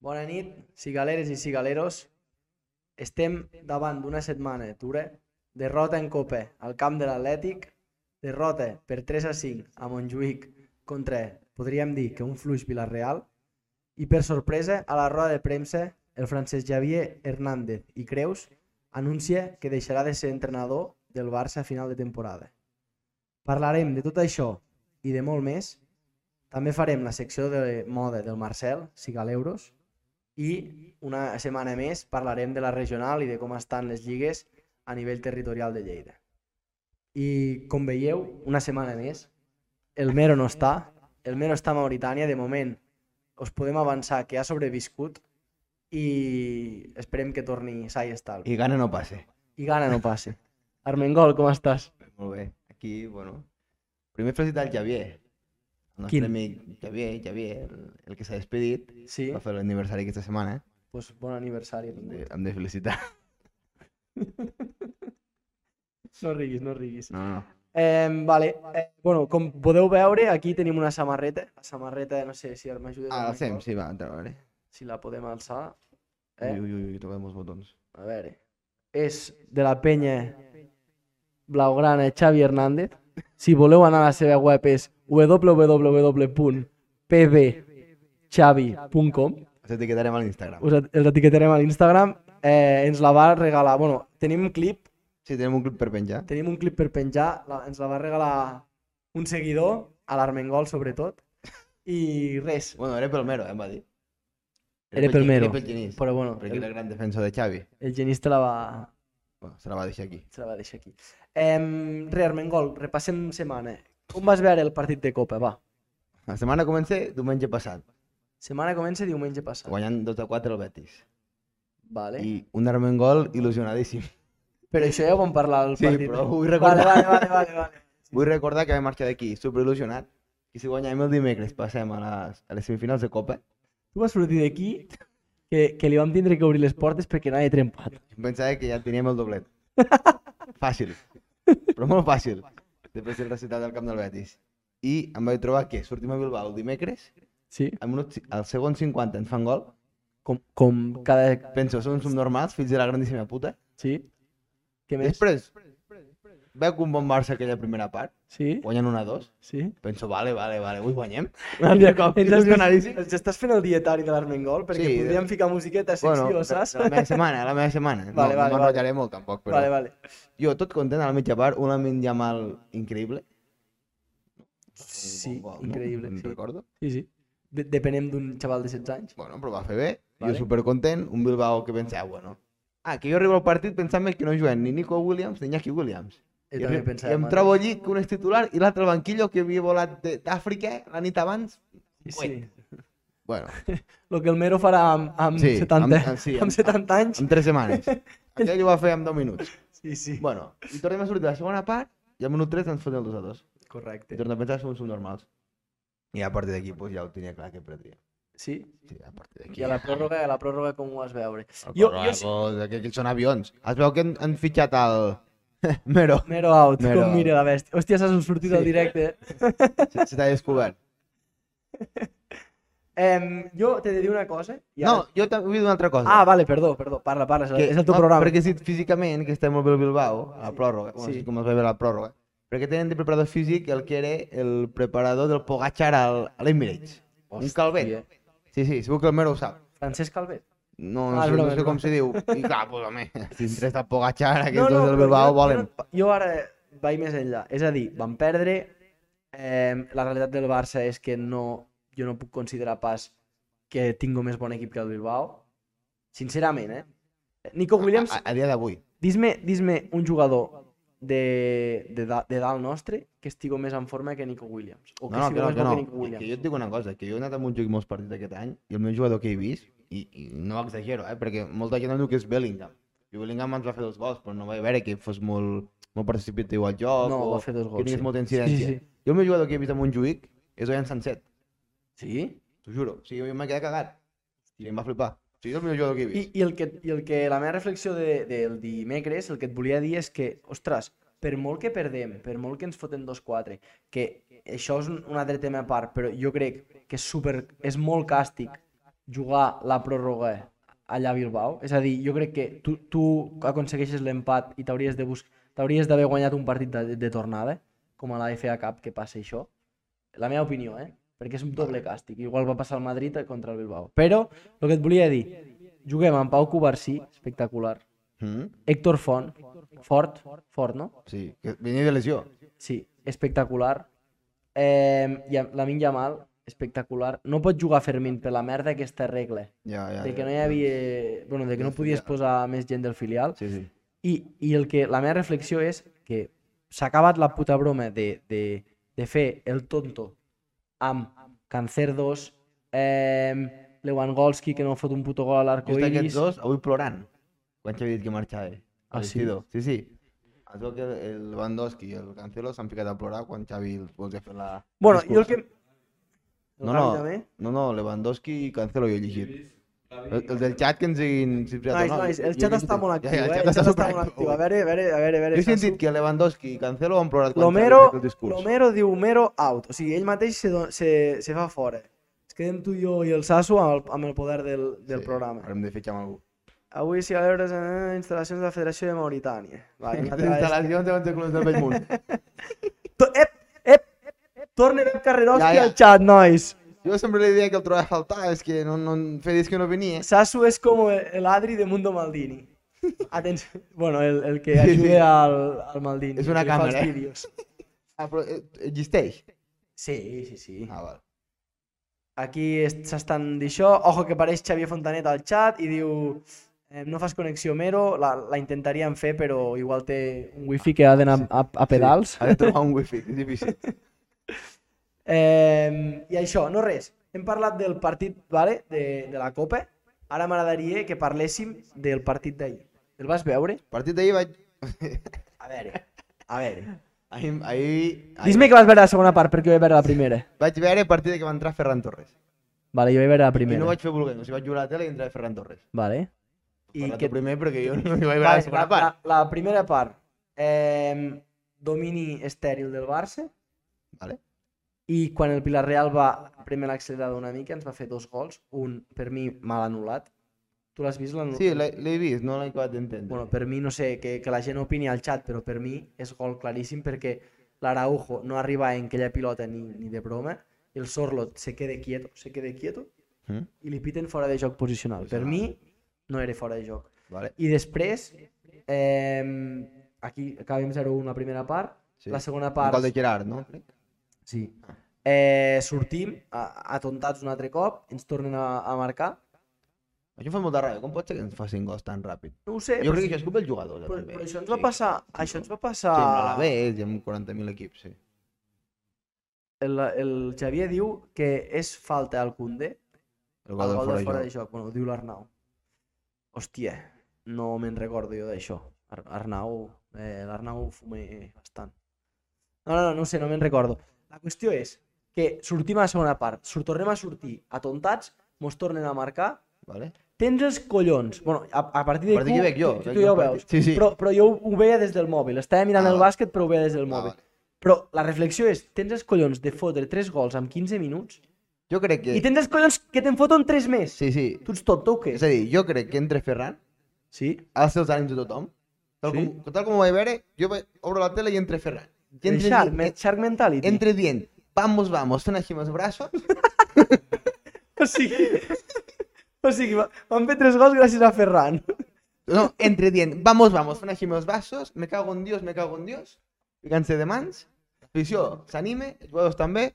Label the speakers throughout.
Speaker 1: Bona nit, cigaleres i cigaleros. Estem davant d'una setmana dura, derrota en Copa al camp de l'Atlètic, derrota per 3 a 5 a Montjuïc contra, podríem dir que un fluix Vilareal, i per sorpresa, a la roda de premsa, el francès Javier Hernández i Creus anuncia que deixarà de ser entrenador del Barça a final de temporada. Parlarem de tot això i de molt més. També farem la secció de moda del Marcel, Cigaleuros, i una setmana més parlarem de la regional i de com estan les lligues a nivell territorial de Lleida. I com veieu, una setmana més, el Mero no està, el Mero està a Mauritània, de moment us podem avançar que ha sobreviscut i esperem que torni sa i estalvi.
Speaker 2: I gana no passe.
Speaker 1: I gana no passe. Armengol, com estàs?
Speaker 2: Molt bé. Aquí, bueno... Primer felicitar el Javier. El nostre
Speaker 1: Quin?
Speaker 2: amic Javier, Javier, el- el que s'ha despedit.
Speaker 1: Sí,
Speaker 2: Va fer l'aniversari aquesta setmana.
Speaker 1: pues bon aniversari.
Speaker 2: Hem de, hem de felicitar.
Speaker 1: No riguis, no riguis.
Speaker 2: No, no.
Speaker 1: Eh, vale, eh, bueno, com podeu veure, aquí tenim una samarreta. La samarreta, no sé si m'ajudes.
Speaker 2: Ah, la
Speaker 1: Armengol,
Speaker 2: fem, sí, va, entra, a veure.
Speaker 1: Si la podem alçar. Eh?
Speaker 2: Ui, ui, ui, toquem els botons.
Speaker 1: A veure, és de la penya blaugrana Xavi Hernández. Si voleu anar a la seva web és www.pbxavi.com
Speaker 2: Els etiquetarem a l'Instagram.
Speaker 1: Us et- els etiquetarem a l'Instagram. Eh, ens la va regalar, bueno, tenim un clip,
Speaker 2: Sí, tenim un clip per penjar.
Speaker 1: tenim un clip per penjar, la, ens la va regalar un seguidor, a l'Armengol sobretot, i res,
Speaker 2: Bueno, era pel Mero, eh, em va dir.
Speaker 1: Era pel
Speaker 2: Gen-
Speaker 1: Mero,
Speaker 2: Era pel Genís.
Speaker 1: però bueno,
Speaker 2: Perquè
Speaker 1: el,
Speaker 2: era gran defensa de Xavi.
Speaker 1: el genís te la va,
Speaker 2: Bueno, se la va deixar aquí.
Speaker 1: Se la va deixar aquí. Eh, re, Armengol, repassem setmana. eh. Com vas veure el partit de Copa, va?
Speaker 2: La setmana comença diumenge passat,
Speaker 1: Setmana comença diumenge passat.
Speaker 2: guanyant 2 a 4 el Betis.
Speaker 1: Vale.
Speaker 2: I un Armengol il·lusionadíssim.
Speaker 1: Però això ja ho vam parlar al
Speaker 2: Sí,
Speaker 1: partit.
Speaker 2: però
Speaker 1: no?
Speaker 2: vull recordar-
Speaker 1: Vale, vale, vale, vale.
Speaker 2: Vull recordar que vam marxar d'aquí superil·lusionat i si guanyem el dimecres passem a les, a les semifinals de Copa.
Speaker 1: Tu vas sortir d'aquí que, que li vam tindre que obrir les portes perquè anava trempat.
Speaker 2: Em pensava que ja teníem el doblet. Fàcil, però molt fàcil. Després del recital del camp del Betis. I em vaig trobar que sortim a Bilbao el dimecres,
Speaker 1: Sí?
Speaker 2: al, minut, ci- al segon 50 ens fan gol.
Speaker 1: Com, com cada...
Speaker 2: Penso, són subnormals, fills de la grandíssima puta.
Speaker 1: Sí? Què més?
Speaker 2: Després, veu un bon Barça aquella primera part,
Speaker 1: Sí?
Speaker 2: guanyen una a dos.
Speaker 1: Sí?
Speaker 2: Penso, vale, vale, vale, avui guanyem.
Speaker 1: De cop,
Speaker 2: Ens has anàlisi?
Speaker 1: ens estàs fent el dietari de l'Armengol perquè
Speaker 2: Sí, de-
Speaker 1: podríem ficar musiqueta a secció,
Speaker 2: Bueno,
Speaker 1: saps?
Speaker 2: la meva setmana, la meva setmana. No,
Speaker 1: Vale, vale,
Speaker 2: no
Speaker 1: vale.
Speaker 2: m'enrotllaré molt tampoc, però...
Speaker 1: Vale, vale.
Speaker 2: Jo, tot content a la mitja part, una menja mal increïble.
Speaker 1: Sí,
Speaker 2: Un bon gol,
Speaker 1: increïble.
Speaker 2: No? Me'n
Speaker 1: Sí.
Speaker 2: recordo.
Speaker 1: Sí, sí. De depenem d'un xaval de 16 anys.
Speaker 2: Bueno, però va fer bé. Vale.
Speaker 1: Vale.
Speaker 2: Jo supercontent, un Bilbao que pensava, bueno... Ah, que jo arribo al partit pensant que no juguen ni Nico Williams ni Iñaki Williams.
Speaker 1: Jo
Speaker 2: I,
Speaker 1: també
Speaker 2: arri-
Speaker 1: pensava.
Speaker 2: I em
Speaker 1: Marc.
Speaker 2: trobo allí que un és titular i l'altre al banquillo que havia volat de- d'Àfrica la nit abans.
Speaker 1: Sí, sí.
Speaker 2: Bueno,
Speaker 1: Lo que el Mero farà amb, amb,
Speaker 2: Sí,
Speaker 1: 70,
Speaker 2: amb-
Speaker 1: amb,
Speaker 2: amb- sí, amb-
Speaker 1: amb 70 anys.
Speaker 2: en tres setmanes. Aquell ho va fer en 10 minuts.
Speaker 1: Sí, sí.
Speaker 2: Bueno, i tornem a sortir a la segona part i al minut 3 ens fotem el 2 a 2. I
Speaker 1: Correcte.
Speaker 2: torno a pensar que som subnormals. I a partir d'aquí pues, ja ho tenia clar que perdria.
Speaker 1: Sí?
Speaker 2: Sí, a partir d'aquí.
Speaker 1: I a la pròrroga, a la pròrroga com ho vas veure?
Speaker 2: Jo,
Speaker 1: Jo-
Speaker 2: jo...
Speaker 1: jo
Speaker 2: Sí. Que aquells són avions. Es veu que han, han fitxat el... Mero.
Speaker 1: Mero out,
Speaker 2: Mero
Speaker 1: com
Speaker 2: out.
Speaker 1: mira la bèstia. Hòstia, s'ha sortit
Speaker 2: Sí.
Speaker 1: al directe. eh?
Speaker 2: Se, se t'ha descobert.
Speaker 1: Em, jo t'he de dir una cosa. i
Speaker 2: No,
Speaker 1: ara-
Speaker 2: jo també vull dir una altra cosa.
Speaker 1: Ah, vale, perdó, perdó. Parla, parla, és, és el teu
Speaker 2: no,
Speaker 1: programa.
Speaker 2: Perquè si físicament, que estem molt bé al Bilbao, a la pròrroga, bueno,
Speaker 1: Sí.
Speaker 2: sí. com es va veure a la pròrroga, perquè tenen de preparador físic el que era el preparador del Pogacar al, a l'Emirates. Un
Speaker 1: Hòstia.
Speaker 2: calvet. Sí, sí, segur que el Mero ho sap.
Speaker 1: Francesc Calvet.
Speaker 2: No, no,
Speaker 1: Ah, és
Speaker 2: sé, no
Speaker 1: broma,
Speaker 2: sé
Speaker 1: és
Speaker 2: com
Speaker 1: broma.
Speaker 2: se diu. I clar, pues, home, si entres del Pogacar, aquests dos del
Speaker 1: però
Speaker 2: Bilbao
Speaker 1: jo,
Speaker 2: volen.
Speaker 1: Jo, no- jo ara vaig més enllà. És a dir, van perdre. Eh, la realitat del Barça és que no, jo no puc considerar pas que tingo més bon equip que el Bilbao. Sincerament, eh? Nico Williams,
Speaker 2: A, a dia d'avui.
Speaker 1: dis-me dis un jugador de, de, da- de dalt nostre que estigo més en forma que Nico Williams. O que
Speaker 2: No, no, que
Speaker 1: estigo
Speaker 2: no,
Speaker 1: més
Speaker 2: que
Speaker 1: bo
Speaker 2: no.
Speaker 1: que Nico
Speaker 2: Que,
Speaker 1: Williams.
Speaker 2: que jo et dic una cosa, que jo he anat amb un joc molts partits aquest any i el meu jugador que he vist, i, i no exagero, eh, perquè molta gent em diu que és Bellingham. I Bellingham ens va fer dos gols, però no vaig veure que fos molt, molt participatiu al joc
Speaker 1: No,
Speaker 2: o
Speaker 1: va fer dos
Speaker 2: que
Speaker 1: gols.
Speaker 2: tingués
Speaker 1: Sí.
Speaker 2: molta incidència.
Speaker 1: Sí, sí,
Speaker 2: Jo el meu jugador que he vist a Montjuïc és Oyan Sancet,
Speaker 1: sí.
Speaker 2: t'ho juro. O sigui, jo m'he quedat cagat. Sí, em va flipar. O sigui, és el millor jugador que he
Speaker 1: I,
Speaker 2: vist.
Speaker 1: i, el que, I el que la meva reflexió de, del dimecres, el que et volia dir és que, ostres, per molt que perdem, per molt que ens foten 2-4, que això és un, un altre tema a part, però jo crec que és, super, és molt càstig jugar la pròrroga allà a Bilbao? És a dir, jo crec que tu, tu aconsegueixes l'empat i t'hauries de bus- t'hauries d'haver guanyat un partit de, de tornada, com a la FA Cup que passa això. La meva opinió, eh? Perquè és un doble càstig. Igual va passar el Madrid contra el Bilbao. Però, el que et volia dir, juguem amb Pau Covarsí, espectacular.
Speaker 2: Mm?
Speaker 1: Héctor Font, fort, fort, no?
Speaker 2: Sí, que venia de lesió.
Speaker 1: Sí, espectacular. Eh, i la Min Yamal, espectacular. No pot jugar Fermín per la merda aquesta regla.
Speaker 2: Ja, ja,
Speaker 1: De que
Speaker 2: ja.
Speaker 1: no hi havia... Bueno, de que no podies posar més gent del filial.
Speaker 2: Sí, sí.
Speaker 1: I, i el que, la meva reflexió és que s'ha acabat la puta broma de, de, de fer el tonto amb Cancerdos, eh, Lewandowski, que no fot un puto gol a
Speaker 2: Jo estic aquests
Speaker 1: l'arcoiris...
Speaker 2: dos avui plorant. Quan t'havia dit que marxava.
Speaker 1: Ah,
Speaker 2: al
Speaker 1: sí?
Speaker 2: vestidor. Sí, sí. Es veu que el Lewandowski i el Cancelo s'han ficat a plorar quan Xavi els vols fer la... el
Speaker 1: Bueno,
Speaker 2: discurs.
Speaker 1: jo el que...
Speaker 2: No, no, no, no, Lewandowski i Cancelo jo he llegit. El, el del xat que ens diguin si és veritat
Speaker 1: Nois,
Speaker 2: o no.
Speaker 1: nois,
Speaker 2: Jo-
Speaker 1: el
Speaker 2: jo
Speaker 1: xat
Speaker 2: he
Speaker 1: està
Speaker 2: llegit-
Speaker 1: molt
Speaker 2: Ja,
Speaker 1: actiu,
Speaker 2: ja,
Speaker 1: eh?
Speaker 2: el xat
Speaker 1: està,
Speaker 2: està
Speaker 1: molt actiu. A veure, a veure, a veure, a veure.
Speaker 2: Jo he
Speaker 1: Sansu.
Speaker 2: sentit que Lewandowski i Cancelo han plorat quan Xavi
Speaker 1: L'Homero,
Speaker 2: ha fet el discurs.
Speaker 1: l'Homero diu Homero out, o sigui, ell mateix se, don- se, se fa fora. Es quedem tu, jo i el Sasso amb el, amb el poder del, del
Speaker 2: Sí,
Speaker 1: programa.
Speaker 2: Ara hem de fitxar amb algú.
Speaker 1: Avui s'hi va veure eh, instal·lacions de la Federació de Mauritània. Va, que una altra vegada-
Speaker 2: Instal·lacions davant de Clubs del Vell Munt.
Speaker 1: To- Ep, ep, ep, ep, tornen el Carreroski
Speaker 2: Ja, ja.
Speaker 1: al xat, nois.
Speaker 2: Jo sempre li deia que el trobava a faltar, és que no, no, feia dies que no venia.
Speaker 1: Sasso és com el Adri de Mundo Maldini. Atenció. Bueno, el, el que
Speaker 2: Sí, sí.
Speaker 1: ajuda al, al Maldini.
Speaker 2: És una
Speaker 1: que fa els
Speaker 2: càmera, eh?
Speaker 1: vídeos.
Speaker 2: Ah, però eh, existeix?
Speaker 1: Sí, sí, sí.
Speaker 2: Ah, val.
Speaker 1: Aquí est- s'estan d'això. Ojo que apareix Xavier Fontanet al chat i diu eh, no fas connexió Mero, la, la intentaríem fer però igual té un wifi que ha d'anar a, a pedals.
Speaker 2: Sí, ha de trobar un wifi, és difícil.
Speaker 1: Eh, I això, no res. Hem parlat del partit vale, de, de la Copa. Ara m'agradaria que parléssim del partit d'ahir. El vas veure?
Speaker 2: Partit d'ahir vaig...
Speaker 1: A veure, a veure.
Speaker 2: ahir, ahir, ahir
Speaker 1: Dis-me que vas veure la segona part perquè jo vaig veure la primera.
Speaker 2: vaig veure partida que va entrar Ferran Torres.
Speaker 1: Vale, jo vaig veure la
Speaker 2: I
Speaker 1: primera.
Speaker 2: no vaig fer volent, o sigui, vaig jugar a la tele i entrava Ferran Torres.
Speaker 1: Vale. I
Speaker 2: I Parla
Speaker 1: que
Speaker 2: que... primer perquè jo no hi vaig veure
Speaker 1: Vale,
Speaker 2: la segona
Speaker 1: la,
Speaker 2: part.
Speaker 1: La, la primera part, eh, domini estèril del Barça,
Speaker 2: Vale.
Speaker 1: i quan el Villarreal va primer l'accelerador una mica, ens va fer dos gols, un per mi mal anul·lat. Tu l'has vist? l'anul-
Speaker 2: Sí, l'he l'he vist, no l'he acabat d'entendre.
Speaker 1: Bueno, per mi, no sé, que, que la gent opini al xat, però per mi és gol claríssim perquè l'Araujo no arriba en aquella pilota ni, ni de broma, i el Sorlot se quede quieto, se quede quieto,
Speaker 2: Mm?
Speaker 1: i li piten fora de joc posicional. Per mi, no era fora de joc.
Speaker 2: Vale.
Speaker 1: I després, eh, aquí acabem 0-1 la primera part,
Speaker 2: Sí.
Speaker 1: sí. la segona
Speaker 2: Un
Speaker 1: part...
Speaker 2: gol de Gerard, no? Crec.
Speaker 1: Sí. Eh, sortim, a- atontats un altre cop, ens tornen a, a marcar.
Speaker 2: Això em fa molta ràbia, com pot ser que ens facin gols tan ràpid?
Speaker 1: No ho sé,
Speaker 2: Jo crec que això és culpa del jugador, ja,
Speaker 1: però,
Speaker 2: també.
Speaker 1: però això ens
Speaker 2: O
Speaker 1: va
Speaker 2: sigui,
Speaker 1: passar... Això ens va passar...
Speaker 2: Sí, amb l'Alavés i amb 40.000 equips, sí.
Speaker 1: El, el Xavier diu que és falta al Condé,
Speaker 2: El
Speaker 1: Ah, el
Speaker 2: gol del
Speaker 1: gol de
Speaker 2: fora
Speaker 1: fora
Speaker 2: de
Speaker 1: de
Speaker 2: joc.
Speaker 1: joc. Bueno, ho diu l'Arnau. Hòstia, no me'n recordo jo d'això. Ar Arnau, eh, l'Arnau fumé bastant. No, no, no, no ho sé, no me'n recordo. La qüestió és que sortim a la segona part, surt, tornem a sortir atontats, mos tornen a marcar,
Speaker 2: Vale?
Speaker 1: tens els collons. bueno, a, a partir
Speaker 2: A
Speaker 1: d'aquí...
Speaker 2: partir que veig jo,
Speaker 1: tu- Tu,
Speaker 2: veig jo
Speaker 1: ja ho
Speaker 2: el partit.
Speaker 1: veus.
Speaker 2: Sí, sí.
Speaker 1: Però, però jo ho, ho veia des del mòbil. Estava mirant
Speaker 2: Ah,
Speaker 1: el
Speaker 2: vale.
Speaker 1: bàsquet, però ho veia des del
Speaker 2: Ah,
Speaker 1: mòbil.
Speaker 2: vale.
Speaker 1: Però la reflexió és, tens els collons de fotre 3 gols en 15 minuts
Speaker 2: Jo crec que...
Speaker 1: i tens els collons que te'n foten 3 més.
Speaker 2: Sí, sí.
Speaker 1: Tu ets tot, o què?
Speaker 2: És a dir, jo crec que entre Ferran,
Speaker 1: Sí.
Speaker 2: ha de ser els ànims de tothom. Tal,
Speaker 1: Sí.
Speaker 2: com, tal com ho vaig veure, jo vaig, obro la tele i entre Ferran. I
Speaker 1: El
Speaker 2: entre,
Speaker 1: Shark,
Speaker 2: dient,
Speaker 1: men- Shark Mentality.
Speaker 2: entre dient, vamos, vamos, fent així amb els braços,
Speaker 1: O sigui... O sigui, va- van fer 3 gols gràcies a Ferran.
Speaker 2: no, entre dient, vamos, vamos, fent així amb els braços, me cago en Dios, me cago en Dios, ficant-se de mans, l'afició s'anime, els jugadors també,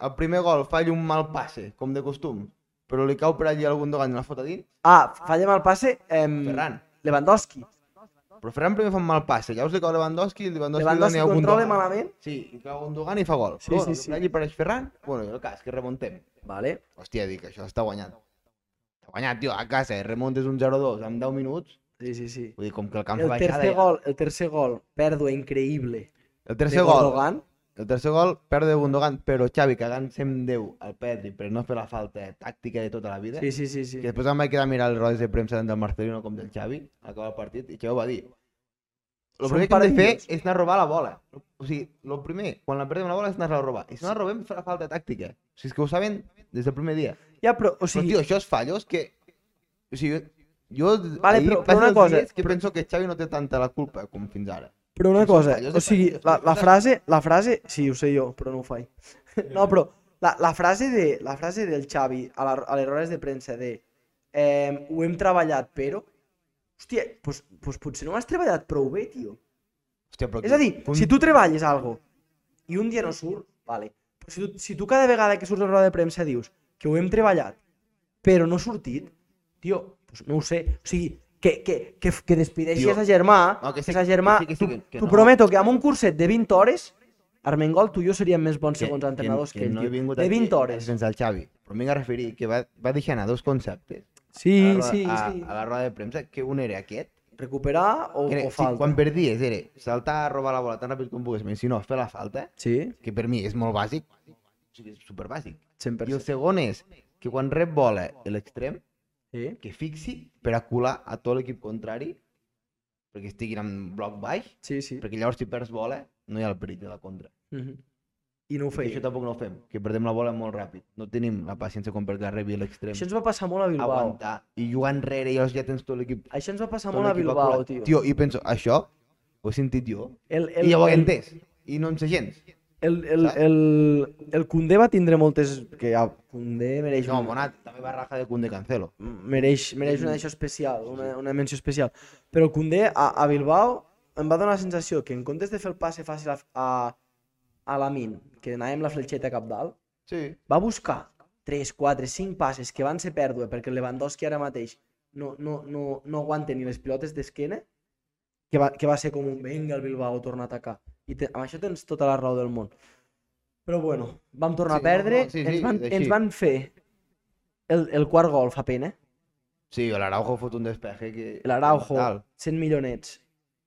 Speaker 2: el primer gol falla un mal passe, com de costum, però li cau per allí algun dogan i la fota dins,
Speaker 1: Ah, fallem el passe... Ehm,
Speaker 2: Ferran.
Speaker 1: Lewandowski.
Speaker 2: però Ferran primer fa un mal passe, llavors li cau Lewandowski i Lewandowski,
Speaker 1: Lewandowski
Speaker 2: li dona algun
Speaker 1: controla
Speaker 2: dogan.
Speaker 1: malament.
Speaker 2: Sí, li cau un dogan i fa gol.
Speaker 1: Sí,
Speaker 2: Però
Speaker 1: sí,
Speaker 2: bueno,
Speaker 1: sí.
Speaker 2: Per allí apareix Ferran, bueno, i el cas, que remontem.
Speaker 1: Vale.
Speaker 2: Hòstia, dic, això està guanyat. Està guanyat, tio, a casa, eh? remontes un 0-2 en 10 minuts.
Speaker 1: Sí, sí, sí.
Speaker 2: Vull dir, com que el camp
Speaker 1: El
Speaker 2: fa baixada...
Speaker 1: tercer
Speaker 2: ja.
Speaker 1: gol, el tercer gol, pèrdua increïble.
Speaker 2: El
Speaker 1: de
Speaker 2: tercer gol.
Speaker 1: Gundogan.
Speaker 2: El tercer gol, perd de Gundogan, però Xavi cagant 110 al Pedri per no fer la falta tàctica de tota la vida.
Speaker 1: Sí, sí, sí, sí.
Speaker 2: Que després em vaig quedar a mirar les rodes de premsa tant del Marcelino com del Xavi, a acabar el partit, i Xavi va dir el
Speaker 1: Són
Speaker 2: primer que hem de fer
Speaker 1: perdidos.
Speaker 2: és anar a robar la bola. O sigui, el primer, quan la perdem la bola, és anar a robar. I si no la robem, fa la falta tàctica. O sigui, és que ho saben des del primer dia.
Speaker 1: Ja, però, o
Speaker 2: Sí. Però,
Speaker 1: sigui,
Speaker 2: tio, això és fallos que... O sigui, jo...
Speaker 1: Vale,
Speaker 2: ahir
Speaker 1: però- però
Speaker 2: passen
Speaker 1: una
Speaker 2: els
Speaker 1: cosa-
Speaker 2: dies Que penso que Xavi no té tanta la culpa com fins ara.
Speaker 1: però una
Speaker 2: són
Speaker 1: cosa,
Speaker 2: fallos de
Speaker 1: o sigui,
Speaker 2: fallos,
Speaker 1: la, la
Speaker 2: són-
Speaker 1: frase, la frase, sí, ho sé jo, però no ho faig. No, però la, la, frase de, la frase del Xavi a, la, a les rodes de premsa de eh, ho hem treballat, però... Hòstia, doncs, doncs potser no ho has treballat prou bé, tio.
Speaker 2: Hòstia, però...
Speaker 1: És a dir, si tu treballes algo i un dia no surt, vale. Però si tu, si tu cada vegada que surts a la roda de premsa dius que ho hem treballat, però no ha sortit, tio, doncs no ho sé. O sigui, que, que, que, que despideixi
Speaker 2: Tio,
Speaker 1: a sa germà,
Speaker 2: no, que sí,
Speaker 1: a sa germà,
Speaker 2: que sí, que sí, que- que
Speaker 1: t'ho
Speaker 2: no.
Speaker 1: prometo que amb un curset de 20 hores, Armengol, tu i jo seríem més bons
Speaker 2: Que-
Speaker 1: segons entrenadors que, ell,
Speaker 2: no he
Speaker 1: tio.
Speaker 2: vingut
Speaker 1: De
Speaker 2: aquí
Speaker 1: 20 hores.
Speaker 2: Sense el Xavi. Però m'he de referir que va, va deixar anar dos conceptes
Speaker 1: Sí,
Speaker 2: a, la, roda-
Speaker 1: sí,
Speaker 2: a,
Speaker 1: sí.
Speaker 2: a la roda de premsa, que un era aquest,
Speaker 1: Recuperar o,
Speaker 2: que era,
Speaker 1: o
Speaker 2: sí, quan
Speaker 1: falta.
Speaker 2: perdies era saltar, robar la bola tan ràpid com pugues, si no, fer la falta,
Speaker 1: Sí,
Speaker 2: que per mi és molt bàsic, o sigui, és superbàsic. I el
Speaker 1: 100%.
Speaker 2: segon és que quan rep bola l'extrem,
Speaker 1: Sí.
Speaker 2: que fixi per acular a tot l'equip contrari perquè estiguin en bloc baix,
Speaker 1: Sí, sí.
Speaker 2: perquè llavors si perds bola no hi ha el perill de la contra.
Speaker 1: Mhm. I no ho
Speaker 2: Feia.
Speaker 1: feia.
Speaker 2: Això tampoc no ho fem, que perdem la bola molt ràpid. No tenim la paciència com perquè la rebi a l'extrem.
Speaker 1: Això ens va passar
Speaker 2: Ah,
Speaker 1: molt a Bilbao.
Speaker 2: Aguantar i jugar enrere i llavors ja tens tot l'equip.
Speaker 1: Això ens va passar
Speaker 2: tot
Speaker 1: molt a
Speaker 2: l'equip
Speaker 1: Bilbao,
Speaker 2: aculat.
Speaker 1: tio.
Speaker 2: Tio, i penso, això ho he sentit jo
Speaker 1: el,
Speaker 2: i ja ho he
Speaker 1: el,
Speaker 2: entès. I no en sé gens.
Speaker 1: el, el,
Speaker 2: saps?
Speaker 1: el, el Koundé va tindre moltes... Que ja, Koundé mereix,
Speaker 2: No, Mm.
Speaker 1: un-
Speaker 2: Monat, també va raja de Cunde Cancelo.
Speaker 1: mereix, mereix una això especial, una, una menció especial. Però el Koundé a, a Bilbao em va donar la sensació que en comptes de fer el passe fàcil a, a, a la Min, que anava amb la fletxeta cap dalt,
Speaker 2: Sí.
Speaker 1: va buscar 3, 4, 5 passes que van ser pèrdua perquè el Lewandowski ara mateix no, no, no, no aguanta ni les pilotes d'esquena, que, va, que va ser com un venga el Bilbao torna a atacar. I te, amb això tens tota la raó del món. Però bueno, vam tornar
Speaker 2: Sí,
Speaker 1: a perdre,
Speaker 2: no, no, sí, sí,
Speaker 1: ens, van,
Speaker 2: així.
Speaker 1: ens van fer el, el quart gol fa pena, eh?
Speaker 2: Sí, l'Araujo fot un despeje que...
Speaker 1: l'Araujo,
Speaker 2: Tal.
Speaker 1: 100 milionets,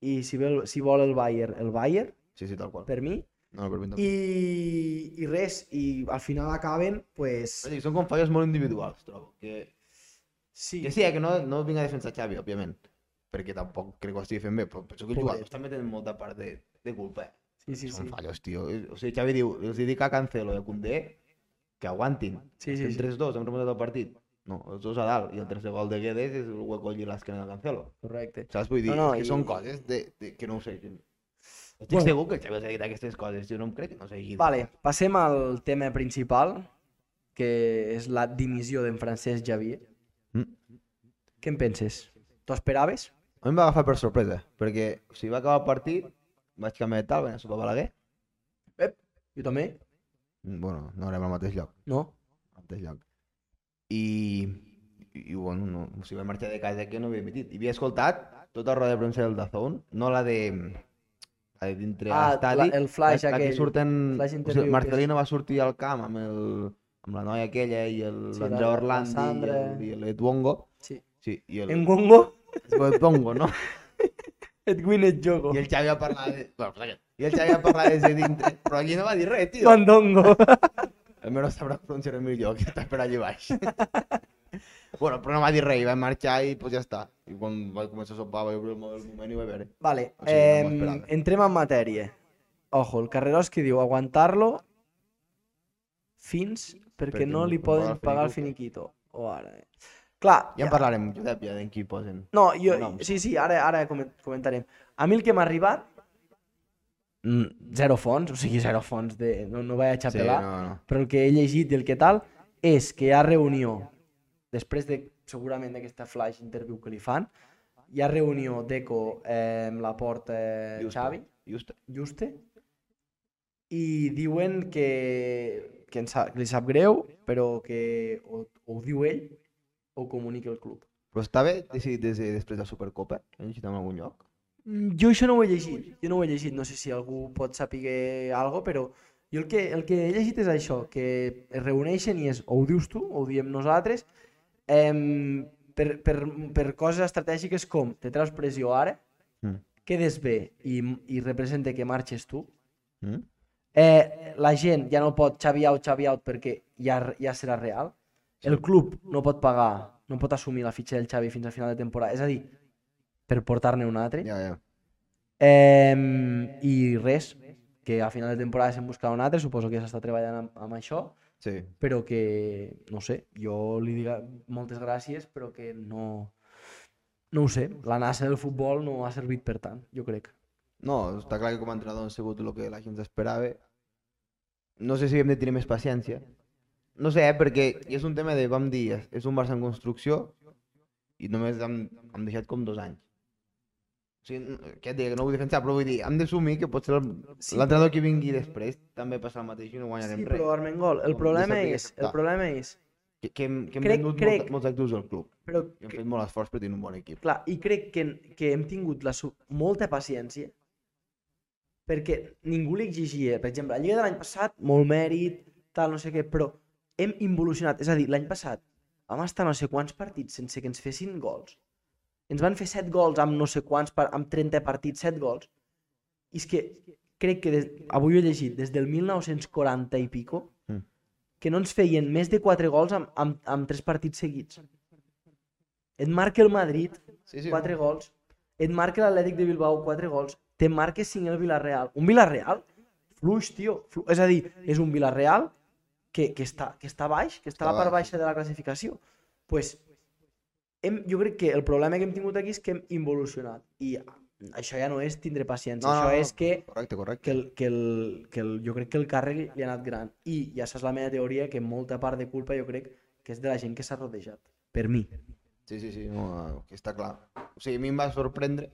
Speaker 1: i si, ve el, si vol el Bayern, el Bayern,
Speaker 2: Sí, sí, tal qual.
Speaker 1: per mi,
Speaker 2: No, per mi tampoc.
Speaker 1: i, i res, i al final acaben, pues,
Speaker 2: Vull dir, Són com fallos molt individuals, trobo. Que,
Speaker 1: sí,
Speaker 2: que sí, eh, que no, no vinc a defensar Xavi, òbviament, perquè tampoc crec que ho estigui fent bé, però penso que els
Speaker 1: Pobre.
Speaker 2: jugadors també tenen molta part de, de culpa.
Speaker 1: sí, Pues, sí,
Speaker 2: Són
Speaker 1: sí.
Speaker 2: fallos, tio. O sigui, Xavi diu, els dic a Cancelo i a Koundé que aguantin.
Speaker 1: Sí, sí,
Speaker 2: Estem
Speaker 1: sí.
Speaker 2: 3-2, hem remuntat el partit. No, els dos a dalt, i el tercer gol de Guedes és el hueco i l'esquena de Cancelo.
Speaker 1: Correcte.
Speaker 2: Saps? Vull dir,
Speaker 1: No, no,
Speaker 2: és que
Speaker 1: i-
Speaker 2: són coses de, de, que no ho sé. Que... Estic
Speaker 1: Bueno.
Speaker 2: segur que el Xavi els ha dit aquestes coses, jo no em crec que no s'hagi dit.
Speaker 1: Vale, passem al tema principal, que és la dimissió d'en Francesc Javier.
Speaker 2: Mm.
Speaker 1: Què en penses? T'ho esperaves?
Speaker 2: A mi em va agafar per sorpresa, perquè o sigui, va acabar el partit, vaig canviar de tal, vaig anar a sopar a Balaguer,
Speaker 1: Jo també?
Speaker 2: Mm, bueno, no érem al mateix lloc,
Speaker 1: No?
Speaker 2: al mateix lloc. I, i bueno, no, o sigui, vaig marxar de casa que no havia emitit. I havia escoltat tota la roda de premsa del Dazón, no la de... La de dintre
Speaker 1: Ah,
Speaker 2: l'estadi.
Speaker 1: la- el flash
Speaker 2: la, la
Speaker 1: aquell,
Speaker 2: que surten...
Speaker 1: flash
Speaker 2: o
Speaker 1: interview
Speaker 2: sigui,
Speaker 1: que
Speaker 2: Marcelino va sortir al camp amb, el, amb la noia aquella i el-
Speaker 1: Sí, la-
Speaker 2: l'Andreu
Speaker 1: la
Speaker 2: sí, Orlandi i
Speaker 1: Sandra.
Speaker 2: el- i l'Edwongo.
Speaker 1: Sí.
Speaker 2: Sí, i el,
Speaker 1: En Gongo
Speaker 2: Edwongo, no?
Speaker 1: et guin et jogo.
Speaker 2: I el Xavi va parlar de... Bueno, pues aquest. I el Xavi va parlar des de dintre, però allí no va dir res, tio.
Speaker 1: Mandongo.
Speaker 2: Almenys sabrà pronunciar el millor, que està per allà baix. bueno, però no va dir res, i va marxar i pues ja està. I quan va començar a sopar, va obrir el mòbil un moment i va veure.
Speaker 1: Vale,
Speaker 2: O sigui, no m'ho
Speaker 1: eh,
Speaker 2: esperava.
Speaker 1: entrem en matèria. Ojo, el Carrerós que diu aguantar-lo fins perquè,
Speaker 2: Perquè
Speaker 1: no
Speaker 2: no
Speaker 1: li
Speaker 2: poden
Speaker 1: poden pagar
Speaker 2: pagar el
Speaker 1: el finiquito. O ara. eh. Clar,
Speaker 2: Ja en parlarem, Josep, ja d'en qui posen.
Speaker 1: No, jo,
Speaker 2: Noms.
Speaker 1: sí, sí, ara, ara comen- comentarem. A mi el que m'ha arribat, mm, zero fonts, o sigui, zero fonts, de, no, no vaig a xapelar,
Speaker 2: no, no.
Speaker 1: però el que he llegit i el que tal és que hi ha reunió, després de, segurament, d'aquesta flash interview que li fan, hi ha reunió d'Eco eh, amb la porta eh, Xavi,
Speaker 2: Justa.
Speaker 1: Juste, i diuen que, que, en sap, que li sap greu, però que o, o ho diu ell o ho comunica el club.
Speaker 2: Però està bé decidit des de, després de la Supercopa? ¿eh? Hem llegit en algun lloc?
Speaker 1: Mm, Jo això no ho he llegit, jo no ho he llegit, no sé si algú pot saber algo, però jo el que, el que he llegit és això, que es reuneixen i és o ho dius tu o ho diem nosaltres, em, per, per, per coses estratègiques com te treus pressió ara,
Speaker 2: Mm.
Speaker 1: quedes bé i, i representa que marxes tu,
Speaker 2: Mm?
Speaker 1: eh, la gent ja no pot Xavi out, Xavi out perquè ja, ja serà real, el club no pot pagar, no pot assumir la fitxa del Xavi fins a final de temporada, és a dir, per portar-ne un altre,
Speaker 2: Ja, ja.
Speaker 1: Eh, I res, que a final de temporada se'n buscarà un altre, suposo que s'està treballant amb, amb això.
Speaker 2: Sí.
Speaker 1: però que, no sé, jo li dic moltes gràcies, però que no... No ho sé, la NASA del futbol no ha servit per tant, jo crec.
Speaker 2: No, està clar que com a entrenador han sigut el que la gent esperava. No sé si hem de tenir més paciència. No sé, eh, perquè és un tema de, vam dir, és- és un Barça en construcció i només hem, hem deixat com dos anys. O sigui, n- què et diré, que no vull defensar, però vull dir, hem d'assumir que potser el-
Speaker 1: Sí,
Speaker 2: l'entrenador que vingui després també passa el mateix i no guanyarem
Speaker 1: Sí,
Speaker 2: res.
Speaker 1: però Armengol, el
Speaker 2: Com
Speaker 1: problema
Speaker 2: dissabte i
Speaker 1: és, el
Speaker 2: dissabte.
Speaker 1: problema és,
Speaker 2: Que, que hem, que hem
Speaker 1: crec-
Speaker 2: crec, venut
Speaker 1: crec-
Speaker 2: Molt, molts actius del club
Speaker 1: però
Speaker 2: i hem
Speaker 1: que-
Speaker 2: fet molt esforç per tenir un bon equip.
Speaker 1: Clar, i crec que, que hem tingut la, su- molta paciència perquè ningú li exigia, per exemple, la Lliga de l'any passat, molt mèrit, tal, no sé què, però hem involucionat, és a dir, l'any passat vam estar no sé quants partits sense que ens fessin gols. Ens van fer 7 gols amb no sé quants, par- amb 30 partits, 7 gols. I és que crec que des, avui ho he llegit, des del 1940 i pico,
Speaker 2: Mm.
Speaker 1: que no ens feien més de 4 gols amb, amb, amb 3 partits seguits. Et marca el Madrid,
Speaker 2: Sí, sí.
Speaker 1: 4 gols. Et marca l'Atlètic de Bilbao 4 gols. Te marca 5 el Villarreal. Un Villarreal fluix, tio. Flu... És a dir, és un Villarreal que, que, està, que està baix, que està,
Speaker 2: Està
Speaker 1: a la part
Speaker 2: baix.
Speaker 1: baixa de la classificació. pues, hem, jo crec que el problema que hem tingut aquí és que hem involucionat. I això ja no és tindre paciència.
Speaker 2: No, no,
Speaker 1: això
Speaker 2: no.
Speaker 1: és que
Speaker 2: Correcte, correcte.
Speaker 1: que, el, que, el, que el, jo crec que el càrrec li ha anat gran. I ja saps la meva teoria, que molta part de culpa jo crec que és de la gent que s'ha rodejat. Per mi.
Speaker 2: Sí, sí, sí, no, eh, està clar. O sigui, a mi em va sorprendre.